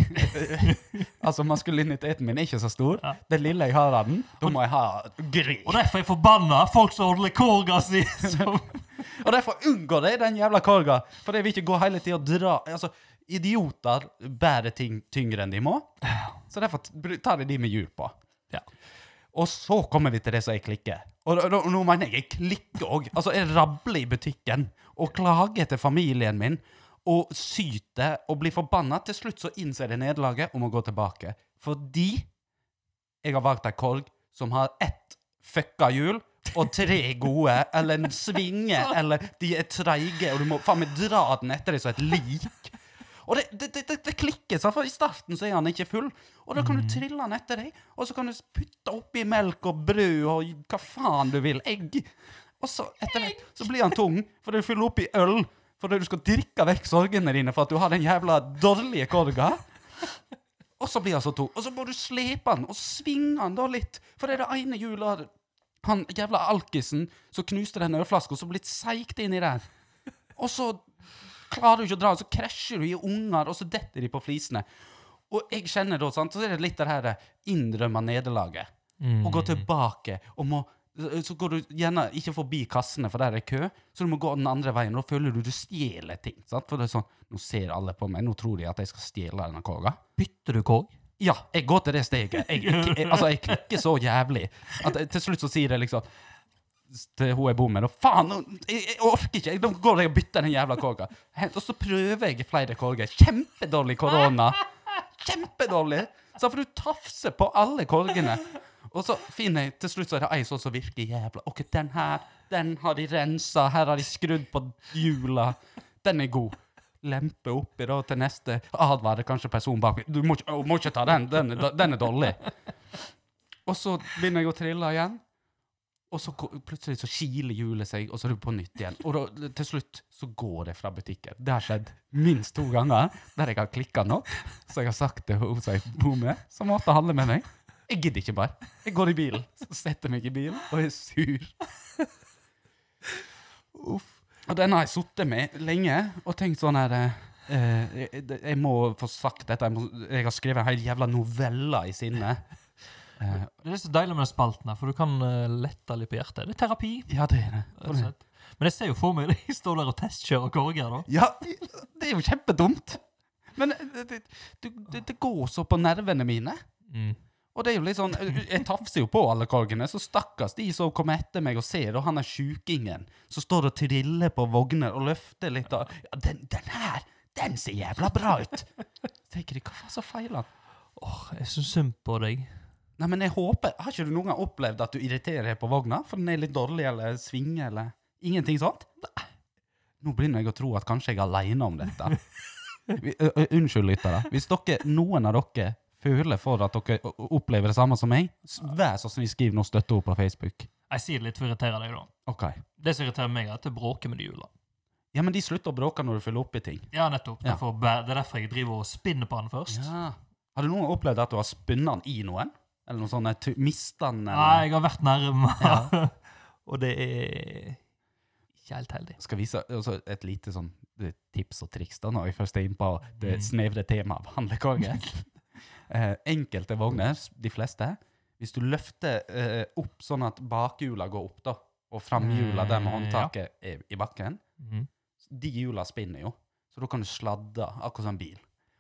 Altså, maskuliniteten min er ikke så stor.
Ja.
Det lille jeg har av den, da må jeg ha
Og
gry.
derfor er jeg forbanna folk som holder korga si! Som
Og derfor unngår jeg den jævla korga. For jeg vil ikke gå hele tida og dra Altså, idioter bærer ting tyngre enn de må. Så derfor t- bru- tar jeg de med hjul på.
Ja.
Og så kommer vi til det som jeg klikker. Og da- da- nå mener jeg jeg klikker òg. Altså, jeg rabler i butikken og klager til familien min og syter og blir forbanna. Til slutt så innser jeg nederlaget og må gå tilbake. Fordi jeg har valgt ei korg som har ett fucka hjul og tre gode, eller en svinge, eller de er treige, og du må faen meg dra den etter deg som et lik. Og det, det, det, det klikker, sant, for i starten så er han ikke full, og da kan du trille han etter deg, og så kan du putte oppi melk og brød og hva faen du vil, egg. Og så etter hvert så blir han tung, for du fyller oppi øl, for du skal drikke vekk sorgene dine for at du har den jævla dårlige korga. Og så blir han så tung. Og så må du slepe han og svinge han da litt. For det er det ene hjulet Han jævla alkisen som knuste den ølflaska, som blitt seigt inni der. Og så klarer du ikke å dra, og så krasjer du i unger, og så detter de på flisene. Og jeg kjenner da, sant, så er det litt det her eh, innrømme nederlaget.
Mm.
Og gå tilbake og må eh, Så går du gjerne ikke forbi kassene, for der er kø, så du må gå den andre veien. og Da føler du du stjeler ting. sant? For det er sånn Nå ser alle på meg, nå tror de at jeg skal stjele denne korga.
Bytter du kog?
Ja, jeg går til det steget. Jeg, jeg, jeg, altså, jeg klikker så jævlig at jeg, til slutt så sier jeg liksom til hun jeg bor med, da faen, nå- jeg, jeg orker ikke, jeg, da går jeg og bytter den jævla korga. Helt- Og så prøver jeg flere korger. Kjempedårlig korona. Kjempedårlig. Så får du tafse på alle korgene. Og så finner jeg til slutt så er det ei sånn som virker jævla Ok, den her, den har de rensa, her har de skrudd på hjula. Den er god. Lempe oppi da til neste. Advarer kanskje personen bak meg. Du må ikke, å, må ikke ta den, den er, den er dårlig. Og så begynner jeg å trille igjen. Og så ko- plutselig så kiler hjulet seg, og så er du på nytt igjen. Og da, til slutt så går det fra butikken. Det har skjedd minst to ganger der jeg har klikka nå. Så jeg har sagt til hun som jeg bor med, som måtte handle med meg. Jeg gidder ikke bare. Jeg går i bilen, så setter meg i bilen og er sur. Uff. Og den har jeg sittet med lenge og tenkt sånn her eh, eh, jeg, jeg må få sagt dette. Jeg, må, jeg har skrevet en hel jævla novelle i sinne. Eh,
Det er så deilig med den spalten, her, for du kan eh, lette litt på hjertet. Det er terapi.
ja, det er det.
rett og slett. Men jeg ser jo for meg deg stå der og testkjøre korger. da.
Ja, det er jo kjempedumt. Men eh, det, det, det, det går så på nervene mine.
Mm.
Og det er jo litt sånn, Jeg tafser jo på alle korgene, så stakkars de som kommer etter meg og ser, og han er sjukingen som står og triller på vogner og løfter litt og ja, den, 'Den her, den ser jævla bra ut!' Tenker de, hva faen så feiler han?
Jeg syns synd på deg.
Nei, men jeg håper, Har ikke du noen gang opplevd at du irriterer deg på vogna? For den er litt dårlig, eller svinger, eller Ingenting sånt? Nei. Nå begynner jeg å tro at kanskje jeg er aleine om dette. Vi, ø, ø, unnskyld, lyttere. Hvis dere, noen av dere føler for at dere o- o- opplever det samme som meg, s- vær så snill skriv noe støtteord på Facebook.
Jeg sier det litt for å irritere deg, da.
Ok.
Det som irriterer meg, er at det bråker med de hjula.
Ja, men de slutter å bråke når du fyller opp i ting.
Ja, nettopp.
Ja.
Derfor, bæ- det er derfor jeg driver og spinner på den først.
Ja. Har du noen gang opplevd at du har spunnet den i noen? Eller noe sånt? tu- Mistet den? eller-
Nei, jeg har vært nærme, og det er ikke helt heldig.
skal vise altså et lite sånn eh, tips og triks da, når vi først er inne på det
Mm.
snevre temaet av handlekorge. Eh, enkelte vogner, s- de fleste, hvis du løfter eh, opp sånn at bakhjula går opp, da, og framhjula der med
Mm, ja.
håndtaket er i bakken,
Mm.
de hjula spinner jo, så da kan du sladde akkurat som en bil.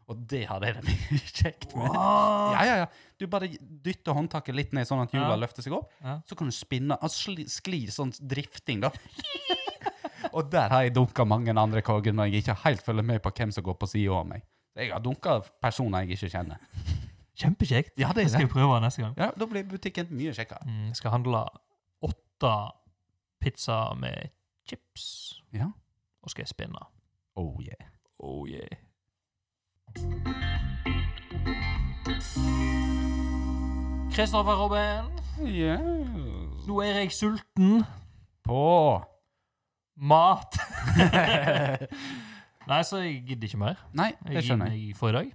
Og det har jeg det mye kjekt med. Ja, ja, ja. Du bare dytter håndtaket litt ned, sånn at hjula
Ja.
løfter seg opp.
Ja.
Så kan du spinne altså sli, sklir sånn drifting, da. og der har jeg dunka mange andre korger når jeg ikke helt følger med på hvem som går på sida av meg. Jeg har dunka personer jeg ikke kjenner.
Kjempekjekt.
Ja, det
Det
er
skal
det.
jeg prøve neste gang.
Ja, Da blir butikken mye kjekkere.
Mm, Jeg skal handle åtte pizzaer med chips,
Ja.
og skal jeg spinne.
Oh yeah.
Oh yeah. Kristoffer Robin, nå er jeg sulten.
På
Mat. Nei, så jeg gidder ikke mer.
Nei, det
Jeg gir
skjønner jeg.
meg for i dag.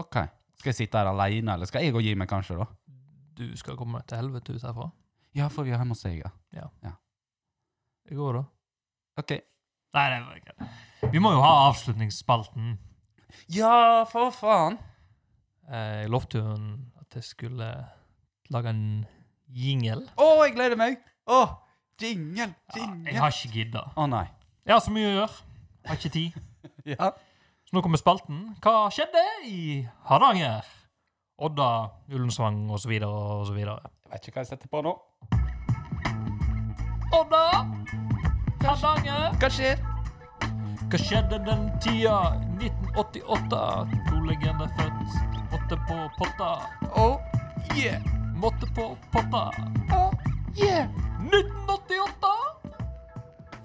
OK. Skal jeg sitte her aleine, eller skal jeg gå og gi meg, kanskje, da?
Du skal komme til helvete ut herfra.
Ja, for vi er hjemme hos deg, ja.
Jeg går da.
OK.
Nei, det var ikke Vi må jo ha avslutningsspalten.
Ja, for faen!
Eh, Jeg lovte jo en- at jeg skulle lage en jingle.
Å, jeg gleder meg! Å, jingle,
Ja,
jingle.
jeg har ikke gidda.
Å nei.
Jeg har så mye å gjøre. Har ikke tid.
Ja.
Så nå kommer spalten. Hva skjedde i Hardanger? Odda, Ullensvang osv. osv.
Jeg vet ikke hva jeg setter på nå.
Odda! Hardanger!
Hva skjer?
Hva skjedde den tida? 1988. To legender født. Måtte på potta.
Oh, yeah.
Måtte på potta.
Oh, yeah.
1988!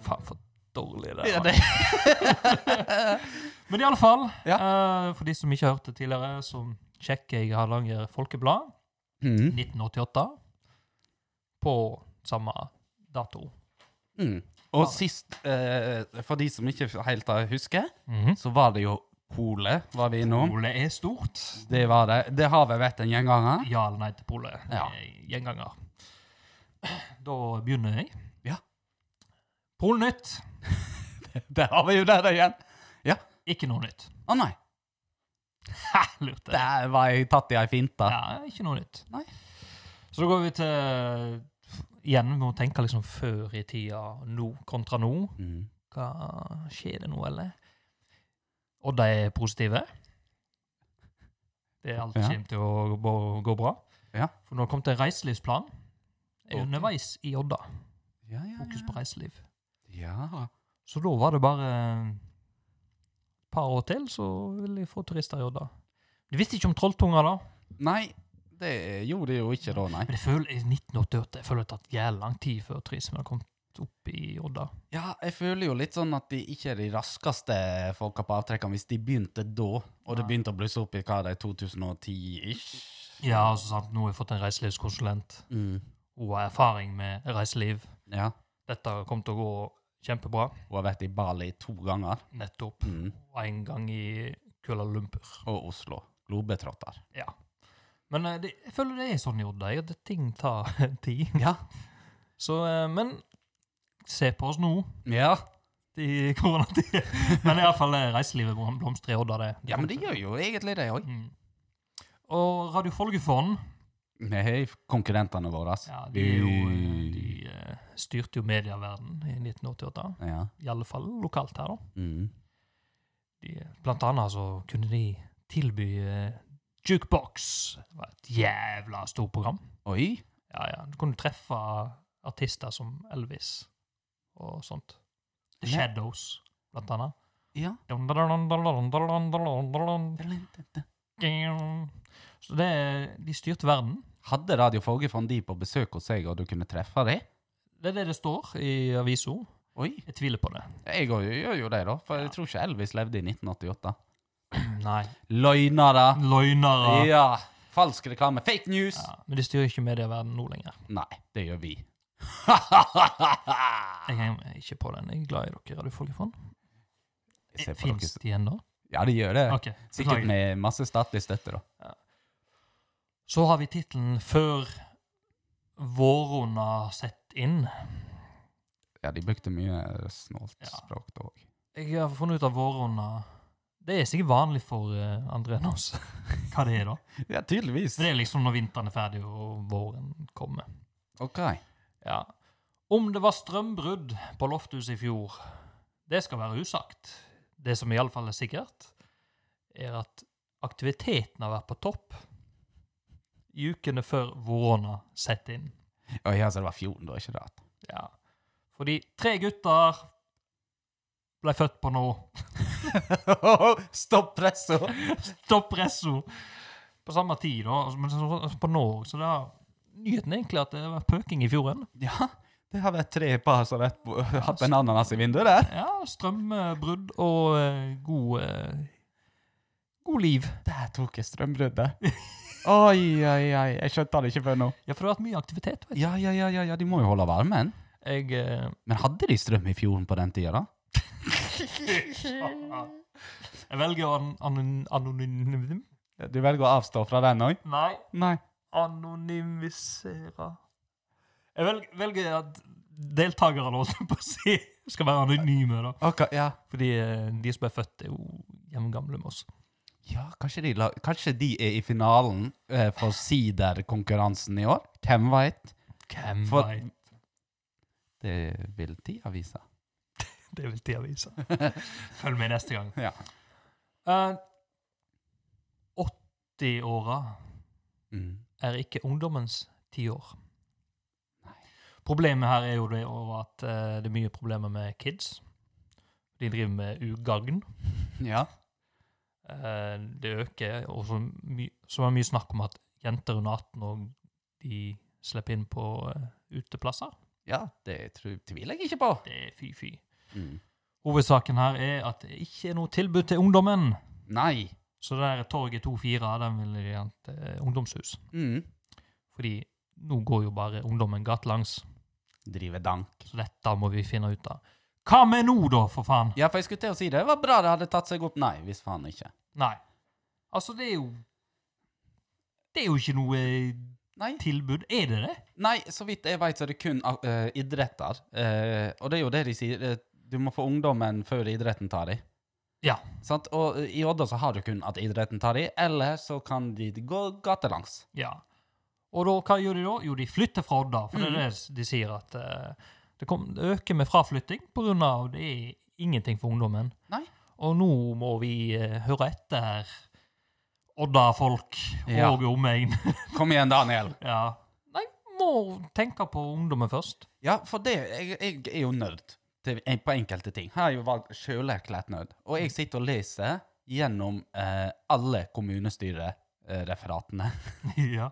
Faen, for dårlig det
Ja,
var.
det.
Men i alle fall, eh, for de som ikke har hørt det tidligere, så sjekker jeg Hardanger Folkeblad.
Mm.
1988 på samme dato.
Mm. Og sist, eh, for de som ikke helt har husker,
Mhm.
så var det jo Polet var vi innom.
Polet er stort.
Det var det. Det har vi vært en gjeng ganger.
Ja eller nei til polet.
Ja.
Eh, Gjenganger. Da begynner jeg.
Ja.
Polnytt.
Det har vi jo der igjen.
Ikke noe nytt.
Å nei,
Ha, lurte jeg.
der var jeg tatt i ei finte.
Ja, ikke noe nytt.
Nei.
Så da går vi til Igjen, vi må tenke liksom før i tida, nå kontra nå.
Mm.
Hva skjer det nå, eller? Og de er positive. Det er alt
Ja.
kommer til å gå, gå bra.
Ja.
For når det kommer til reiselivsplan, er
Ok.
underveis i Odda.
Ja, ja,
Fokus på reiseliv.
ja. ja.
Så da var det bare et par år til, så ville jeg få turister i Odda. Du visste ikke om trolltunga, da?
Nei, det gjorde jeg jo ikke da, nei.
Men jeg føler, i 1988 jeg føler det har tatt jævlig lang tid før turismen har kommet opp i Odda.
Ja, jeg føler jo litt sånn at de ikke er de raskeste folka på avtrekkene hvis de begynte da, og det begynte å blusse opp i hva det er, 2010-ish?
Ja, altså sant, nå har jeg fått en reiselivskonsulent.
Mm.
Hun har erfaring med reiseliv.
Ja.
dette kommer til å gå kjempebra.
Hun har vært i Bali to ganger.
Nettopp.
Mm.
Og en gang i Kuala Lumpur.
Og Oslo. Globetrotter.
Ja. Men eh, det, jeg føler det er sånn i Odda, at ting tar tid.
Ja.
Så, eh, men se på oss nå
Ja.
i koronatid. Men iallfall eh, reiselivet blom- blomstrer i Odda, det.
ja, men det gjør jo egentlig det òg.
Mm. Og Radio Folgefond
Nei, konkurrentene våre. ass.
ja, de, er jo, eh, de eh, styrte jo medieverdenen i 1988.
Ja.
I alle fall lokalt her, da.
Mm.
De, blant annet så kunne de tilby eh, jukebox. Det var et jævla stort program.
Oi.
Ja, ja. Du kunne treffe artister som Elvis og sånt. The
Ja.
Shadows, blant annet.
Ja.
Så det, de styrte verden.
Hadde Radio Fogefond de på besøk hos seg, og du kunne treffe dem?
Det er det det står i avisa.
Oi.
Jeg tviler på det.
Jeg går jo- gjør jo det, da. For jeg tror ikke Elvis levde i 1988.
Nei.
Løgnere!
Løgnere. Ja.
Ja. Falsk reklame. Fake news!
men de styrer ikke medieverdenen nå lenger.
Nei, det gjør vi.
Jeg henger ikke på den. Jeg er glad i dere, Radiofolkefond.
Jeg ser på dere.
Fins de ennå?
Ja, de gjør det.
Ok,
Sikkert
beklager.
med masse statlig støtte, da.
Så har vi tittelen 'Før våronna sett inn'.
Ja, de brukte mye snålt
Ja.
språk da òg.
Jeg har funnet ut av våronna Det er sikkert vanlig for eh, andre enn oss hva det er, da.
Ja, tydeligvis.
For det er liksom når vinteren er ferdig og våren kommer.
OK.
Ja. Om det var strømbrudd på Lofthuset i fjor, det skal være usagt. Det som iallfall er sikkert, er at aktiviteten har vært på topp i ukene før våronna setter inn.
Å ja, så det var 14, da, ikke rart.
Ja. Fordi tre gutter ble født på nå.
Stopp presset!
Stopp presso! På samme tid, da. altså, Men så- på nå. Så det har nyheten er egentlig at det var pøking i fjorden.
Ja, det har vært tre par som har vært på- hatt en ananas i vinduet der.
Ja, strømbrudd og eh, god eh, God liv.
Der tok jeg strømbruddet. Oi, oi, oi. Jeg skjønte det ikke før nå.
Ja, for det har vært mye aktivitet. Vet du.
Ja, ja, ja, ja, ja, de må jo holde varmen.
Jeg eh,
Men hadde de strøm i fjorden på den tida, da?
Jeg velger å an anon anonym...
Du velger å avstå fra den òg?
Nei,
Nei.
anonymisere Jeg velger, velger at deltakerne, holdt jeg på å si, skal være anonyme, da.
Ok, ja.
Fordi eh, de som ble født, er jo jevngamle med oss.
Ja, kanskje de, la, kanskje de er i finalen eh, for siderkonkurransen i år? Hvem veit?
Hvem
For-
veit?
Det vil tida vise.
Det vil tida vise. Følg med neste gang.
Ja.
Eh, 80-åra
Mm.
er ikke ungdommens tiår.
Nei.
Problemet her er jo det over at eh, det er mye problemer med kids. De driver med ugagn.
Ja.
Eh, det øker, og så, my så er det mye snakk om at jenter under 18 og de slipper inn på eh, uteplasser.
ja, det tror, tviler jeg ikke på.
Det er fy-fy.
Mm.
Hovedsaken her er at det ikke er noe tilbud til ungdommen.
Nei.
Så det der torget 24, den vil de gjerne til eh, ungdomshus.
Mm.
Fordi nå går jo bare ungdommen gatelangs.
Drive dank.
Så dette må vi finne ut av. Hva med nå, da, for faen?
Ja, for jeg skulle til å si det. Det var bra det hadde tatt seg opp. Nei, hvis faen ikke.
Nei. Altså, det er jo Det er jo ikke noe eh,
Nei.
tilbud. Er det det?
Nei, så vidt jeg vet så er det kun eh, idretter. Eh, og det er jo det de sier. eh, du må få ungdommen før idretten tar de.
Ja.
Sant? Og eh, i Odda så har du kun at idretten tar de, eller så kan de gå gatelangs.
Ja. Og da, hva gjør de da? Jo, de flytter fra Odda. For
Mhm.
det er det de sier, at eh, det, kom, det øker med fraflytting pga. det er ingenting for ungdommen.
Nei.
Og nå må vi eh, høre etter her, Odda-folk
Ja.
og omegn.
Kom igjen, Daniel.
ja. Nei, må tenke på ungdommen først.
Ja, for det, jeg, jeg er jo nerd til, på enkelte ting. Her har jeg jo valgt sjølerklært nerd. Og jeg sitter og leser gjennom eh, alle kommunestyrereferatene
ja.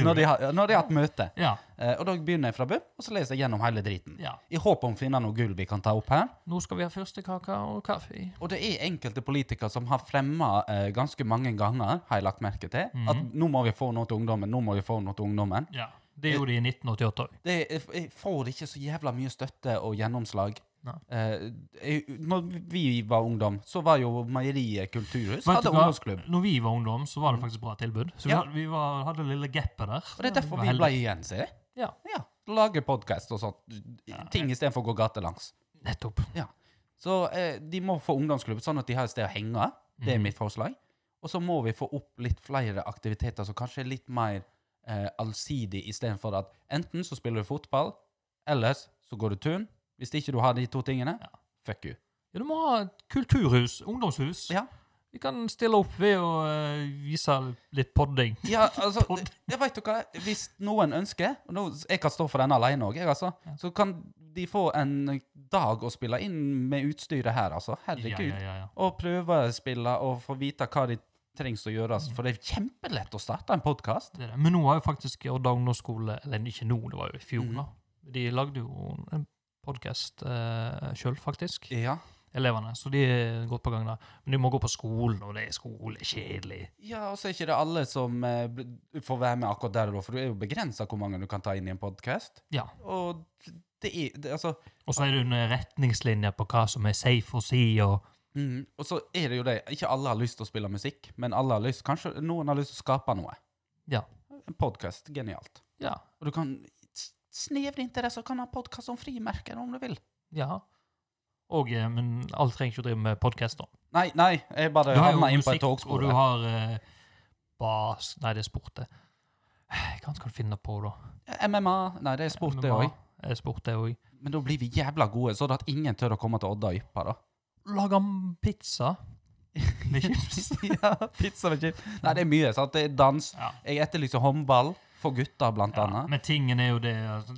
når, de har- når de har hatt møte.
ja.
Eh, og da begynner jeg fra bunn, og så leser jeg gjennom hele driten.
Ja.
I håp om å finne noe gull vi kan ta opp her.
Nå skal vi ha fyrstekake og kaffe.
Og det er enkelte politikere som har fremma eh, ganske mange ganger, har jeg lagt merke til,
Mhm.
at nå må vi få noe til ungdommen, nå må vi få noe til ungdommen.
Ja. Det gjorde de i 1988 òg.
Det jeg, jeg får ikke så jævla mye støtte og gjennomslag.
Nei.
Eh, jeg, når vi var ungdom, så var jo meieriet Kulturhus
Vet du
hadde
hva?
ungdomsklubb.
Når vi var ungdom, så var det faktisk bra tilbud. Så vi,
Mhm. Ja.
hadde, vi var, hadde lille gapet der.
Og det er derfor
var
vi
heldige.
ble igjen, ser jeg.
Ja.
Ja, Lage podkast og sånt. Ting istedenfor å gå gatelangs.
Nettopp.
Ja. Så eh, de må få ungdomsklubb, sånn at de har et sted å henge. Det er
Mhm.
mitt forslag. Og så må vi få opp litt flere aktiviteter som kanskje er litt mer eh, allsidig, istedenfor at enten så spiller du fotball, ellers så går du turn. Hvis ikke du har de to tingene, fuck you.
Ja, du må ha et kulturhus, ungdomshus.
Ja.
Vi kan stille opp ved å eh, vise litt podding.
Ja, altså,
Pod.
jeg vet jo hva, Hvis noen ønsker, og nå, jeg kan stå for den alene òg, altså, så kan de få en dag å spille inn med utstyret her, altså.
Ja,
Herregud.
ja, ja, ja.
Og prøve å spille og få vite hva de trengs å gjøre, for det er kjempelett å starte en podkast.
Det er det. Men nå har jo faktisk Odda ungdomsskole Eller ikke nå, det var jo i fjor,
Mhm.
da. De lagde jo en podkast eh, sjøl, faktisk.
Ja.
Elevene. Så de er godt på gang der. Men de må gå på skolen, og det er skole kjedelig.
ja, og så er ikke det alle som eh, bl- får være med akkurat der og da, for du er jo begrensa hvor mange du kan ta inn i en podkast.
Ja.
Og det er det, Altså
Og så er det under retningslinjer på hva som er safe å si, og
Mm. Og så er det jo det, ikke alle har lyst til å spille musikk, men alle har lyst, kanskje noen har lyst til å skape noe.
Ja.
En podkast, genialt.
Ja.
Og du kan s- snevre interesse og kan ha podkast om frimerker om du vil.
ja. Og, eh, men alle trenger ikke å drive med podkast, da.
Nei, nei, jeg bare
Du har jo
havna inn på et
musikk, og
togspor.
du
der.
har eh, bas Nei, det er sport, det. Hva skal du finne på, da?
MMA, nei, det er sport det
MMA
òg.
er Sport, det òg.
Men da blir vi jævla gode, sånn at ingen tør å komme til Odda og yppe, da.
Lage m- pizza med chips.
ja, pizza med chips. Nei, det er mye. sant? Det er dans.
Ja.
Jeg etterlyser håndball for gutter, blant
Ja,
annet.
men tingen er jo det at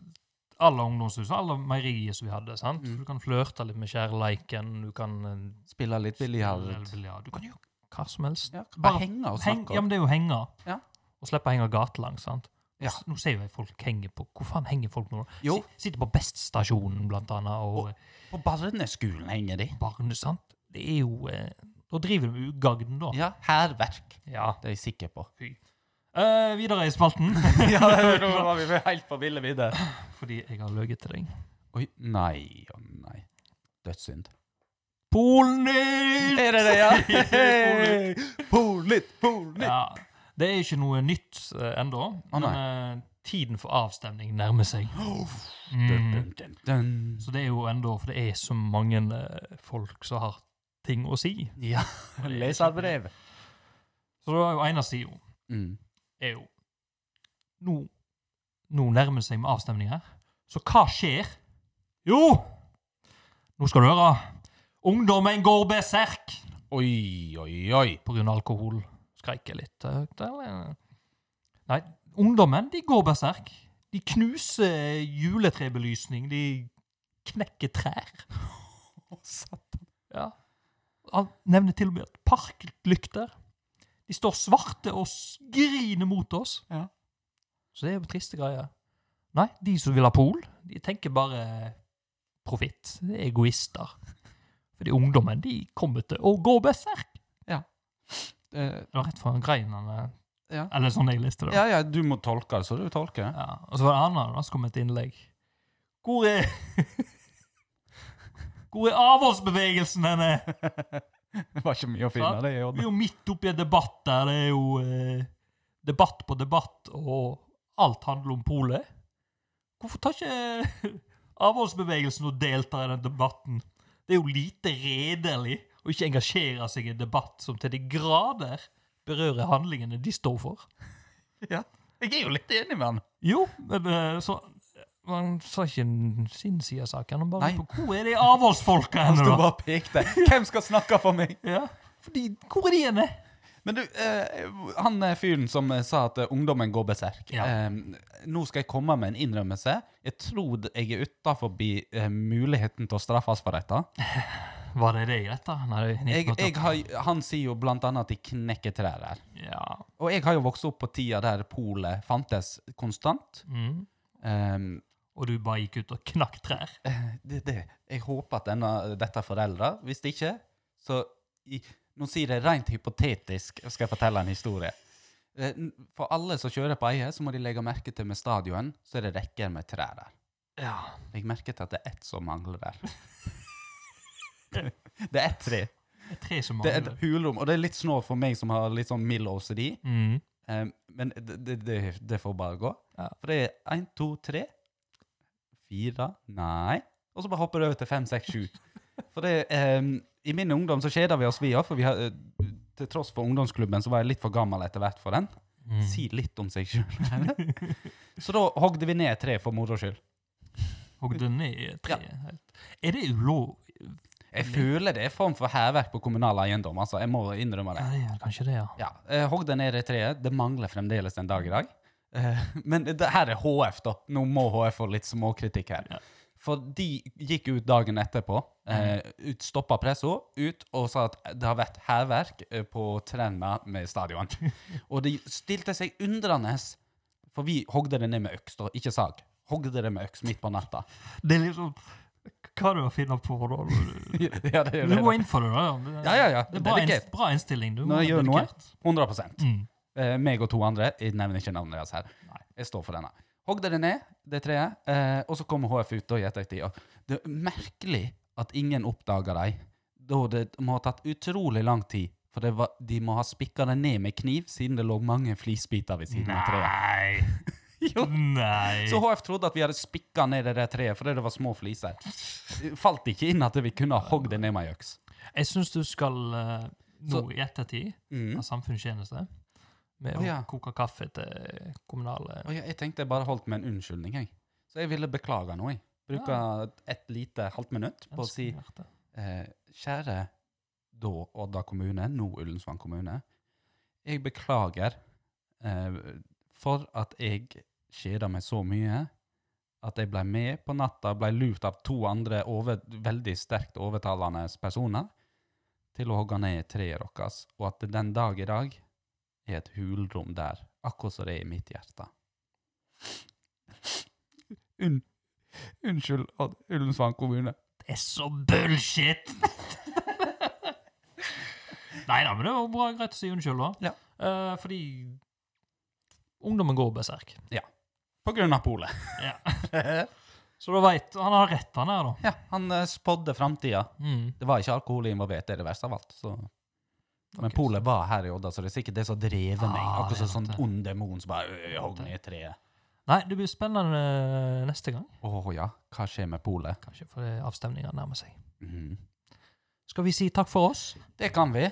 alle ungdomshus, alle meierier som vi hadde, sant?
Mm.
Du kan flørte litt med kjærleiken, du kan eh,
Spille litt biljard.
spille biljard, Du kan gjøre hva som helst.
Ja,
Bare
bare henge og
Heng,
snakke.
ja, men det er jo henge.
Ja.
Og slippe å henge gatelangs, sant?
Ja.
S- Nå ser jo jeg folk henger på Hvor faen henger folk nå?
Jo.
Si- Sitter på Beststasjonen, blant annet, og,
På barneskolen henger de.
barne, sant? Det er jo eh, Da driver de med ugagn, da.
Ja, hærverk.
Ja.
Det er jeg sikker på.
Eh, videre i spalten,
ja, nå var vi helt på ville vidde.
fordi jeg har løyet til deg.
Oi, nei, å nei. Dødssynd.
Polnytt!
Er det det, ja?
Polnytt.
Polnytt, polnytt.
Ja. Det er ikke noe nytt uh, ennå,
Å,
men eh, tiden for avstemning nærmer seg.
Dun,
Mm.
dun, dun, dun.
Så det er jo ennå, for det er så mange eh, folk som har ting å si.
Ja, leserbrev.
Så det var jo ene sida
Mm.
er jo nå, nå nærmer det seg med avstemning her. Så hva skjer? Jo! Nå skal du høre. Ungdommen går berserk
Oi, oi, oi.
pga. alkohol. Skreike litt eh, høyt, eller? Nei, ungdommen de går berserk. De knuser juletrebelysning. De knekker trær. Ja. Han nevner til og med at parklykter De står svarte og s- griner mot oss.
Ja.
Så det er jo triste greier. Nei, de som vil ha pol, de tenker bare profitt. Det er egoister. Fordi ungdommen, de kommer til å gå berserk.
Eh,
Det var rett foran greinene.
Ja.
Eller sånn jeg leste det.
ja, ja, du må tolke det, så du tolker det.
Ja, Og så var det Arne da, som kom med et innlegg. Hvor er Hvor er avholdsbevegelsen henne?
Det var ikke mye å finne, det. i
Vi
Odda.
er jo midt oppi en debatt der det er jo eh, debatt på debatt, og alt handler om polet. Hvorfor tar ikke eh, avholdsbevegelsen og deltar i den debatten? Det er jo lite redelig å ikke engasjere seg i en debatt som til de grader berører handlingene de står for.
Jeg er jo litt enig med han.
Jo, men eh, så Man sa ikke en sin side av saken. Han bare
Nei.
lurte på, Hvor er de avholdsfolka
Han
hen,
sto
da?
bare og pekte. Hvem skal snakke for meg?
Ja. Fordi, hvor er de henne?
Men du, eh, han eh, fyren som eh, sa at eh, ungdommen går berserk.
Ja.
Eh, nå skal jeg komme med en innrømmelse. Jeg tror d- jeg er utafor eh, muligheten til å straffes for dette.
Var det det i dette? Nei, det er
Jeg,
1988.
jeg har, han sier jo blant annet at de knekker trær her.
Ja.
Og jeg har jo vokst opp på tida der polet fantes konstant.
Mm.
Eh,
Og du bare gikk ut og knakk trær.
det, det. Jeg håper at denne, dette er foreldre. Hvis det ikke, så i, Nå sier jeg rent hypotetisk, jeg skal fortelle en historie. Eh, n- For alle som kjører på Eie, så må de legge merke til med stadion, så er det rekker med trær der.
Ja.
Legg merke til at det er ett som mangler der. Det er ett tre.
Det er tre som
Det er et
mangler.
hulrom, og det er litt snålt for meg som har litt sånn mild OCD,
Mm.
eh, men det, det, det, det får bare gå.
Ja.
For det er én, to, tre, fire Nei. Og så bare hopper det over til fem, seks, sju. For det, ehm, I min ungdom så kjeder vi oss, vi òg. For vi har, eh, til tross for ungdomsklubben så var jeg litt for gammel etter hvert for den.
Mm.
Si litt om seg sjøl. så da hogde vi ned et tre for moro skyld.
Og den er tre. helt. Er det ulov?
Jeg
Mm.
føler det er en form for hærverk på kommunal eiendom. altså. Jeg må innrømme det.
Ja, det er vel kanskje det, ja.
Ja, eh, Hogg det ned i treet. Det mangler fremdeles en dag i dag. Eh, Men det her er HF, da. Nå må HF få litt småkritikk her.
Ja.
For de gikk ut dagen etterpå, eh, ut- stoppa presso, ut og sa at det har vært hærverk eh, på trærne med stadion. Og de stilte seg undrende, for vi hogde det ned med øks, da, ikke sag. Hogde det med øks midt på natta.
Det er liksom Hva du har funnet på, da? Du-
ja, det er jo
Du
det.
må
da.
inn for det, da. Det,
Ja, ja, ja.
det er bra,
Dedikert.
inns- bra innstilling. Du
Når jeg
må være
gjør noe.
dedikert.
100
Mm.
Eh, meg og to andre. Jeg nevner ikke navnet deres her.
Nei.
Jeg står for denne. Hogde det ned, det treet, eh, og så kommer HF ut da i ettertid. og Det er merkelig at ingen oppdaga dem, da det må ha tatt utrolig lang tid. For det var, de må ha spikka det ned med kniv, siden det lå mange flisbiter ved siden av treet.
Nei
Jo.
Nei.
Så HF trodde at vi hadde spikka ned det der treet fordi det var små fliser. Det Falt ikke inn at vi kunne ha hogd det ned med ei øks.
Jeg syns du skal eh, nå
Så-
i ettertid
Mm.
av samfunnstjeneste med
Å, ja.
å koke kaffe til kommunale
Og jeg, jeg tenkte jeg bare holdt med en unnskyldning, jeg. Så jeg ville beklage nå, jeg. Bruke et lite halvt minutt på å si
mennesker.
eh, Kjære da Odda kommune, nå Ullensvang kommune. Jeg beklager eh, for at jeg kjeda meg så mye at jeg ble med på natta, ble lurt av to andre over, veldig sterkt overtalende personer til å hogge ned treet deres, og at det den dag i dag er et hulrom der, akkurat som det er i mitt hjerte. Unn- unnskyld, Odd- Ullensvang kommune.
Det er så bullshit! Nei da, men det var bra greit å si unnskyld, da.
Ja.
Eh, fordi ungdommen går berserk.
På grunn av polet.
Ja. Så da veit Han har rett, han her, da.
Ja, han eh, spådde framtida.
Mm.
Det var ikke alkohol involvert, det er det verste av alt. Så. Men
Ok,
polet var her i Odda, så det er sikkert det som drev meg.
Ah,
Akkurat som
det er sant
sånn
det.
ond demon som bare øh, hogg ned treet.
Nei, det blir spennende eh, neste gang,
Å ja, hva skjer med polet?
kanskje, for det er avstemninga nærmer seg.
Mhm.
Skal vi si takk for oss?
Det kan vi.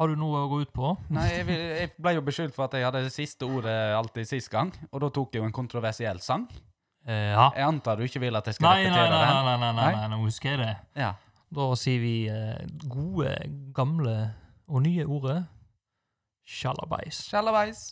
Har du noe å gå ut på?
Nei, jeg, vil- jeg ble jo beskyldt for at jeg hadde det siste ordet alltid sist gang, og da tok jeg jo en kontroversiell sang.
Eh, ja.
Jeg antar du ikke vil at jeg skal
Nei, nei, nei,
repetere
nei, nei, nei, nei,
Nei?
nei, nå husker jeg det.
den? Ja.
Da sier vi eh, gode, gamle og nye ordet sjalabais.
Sjalabais.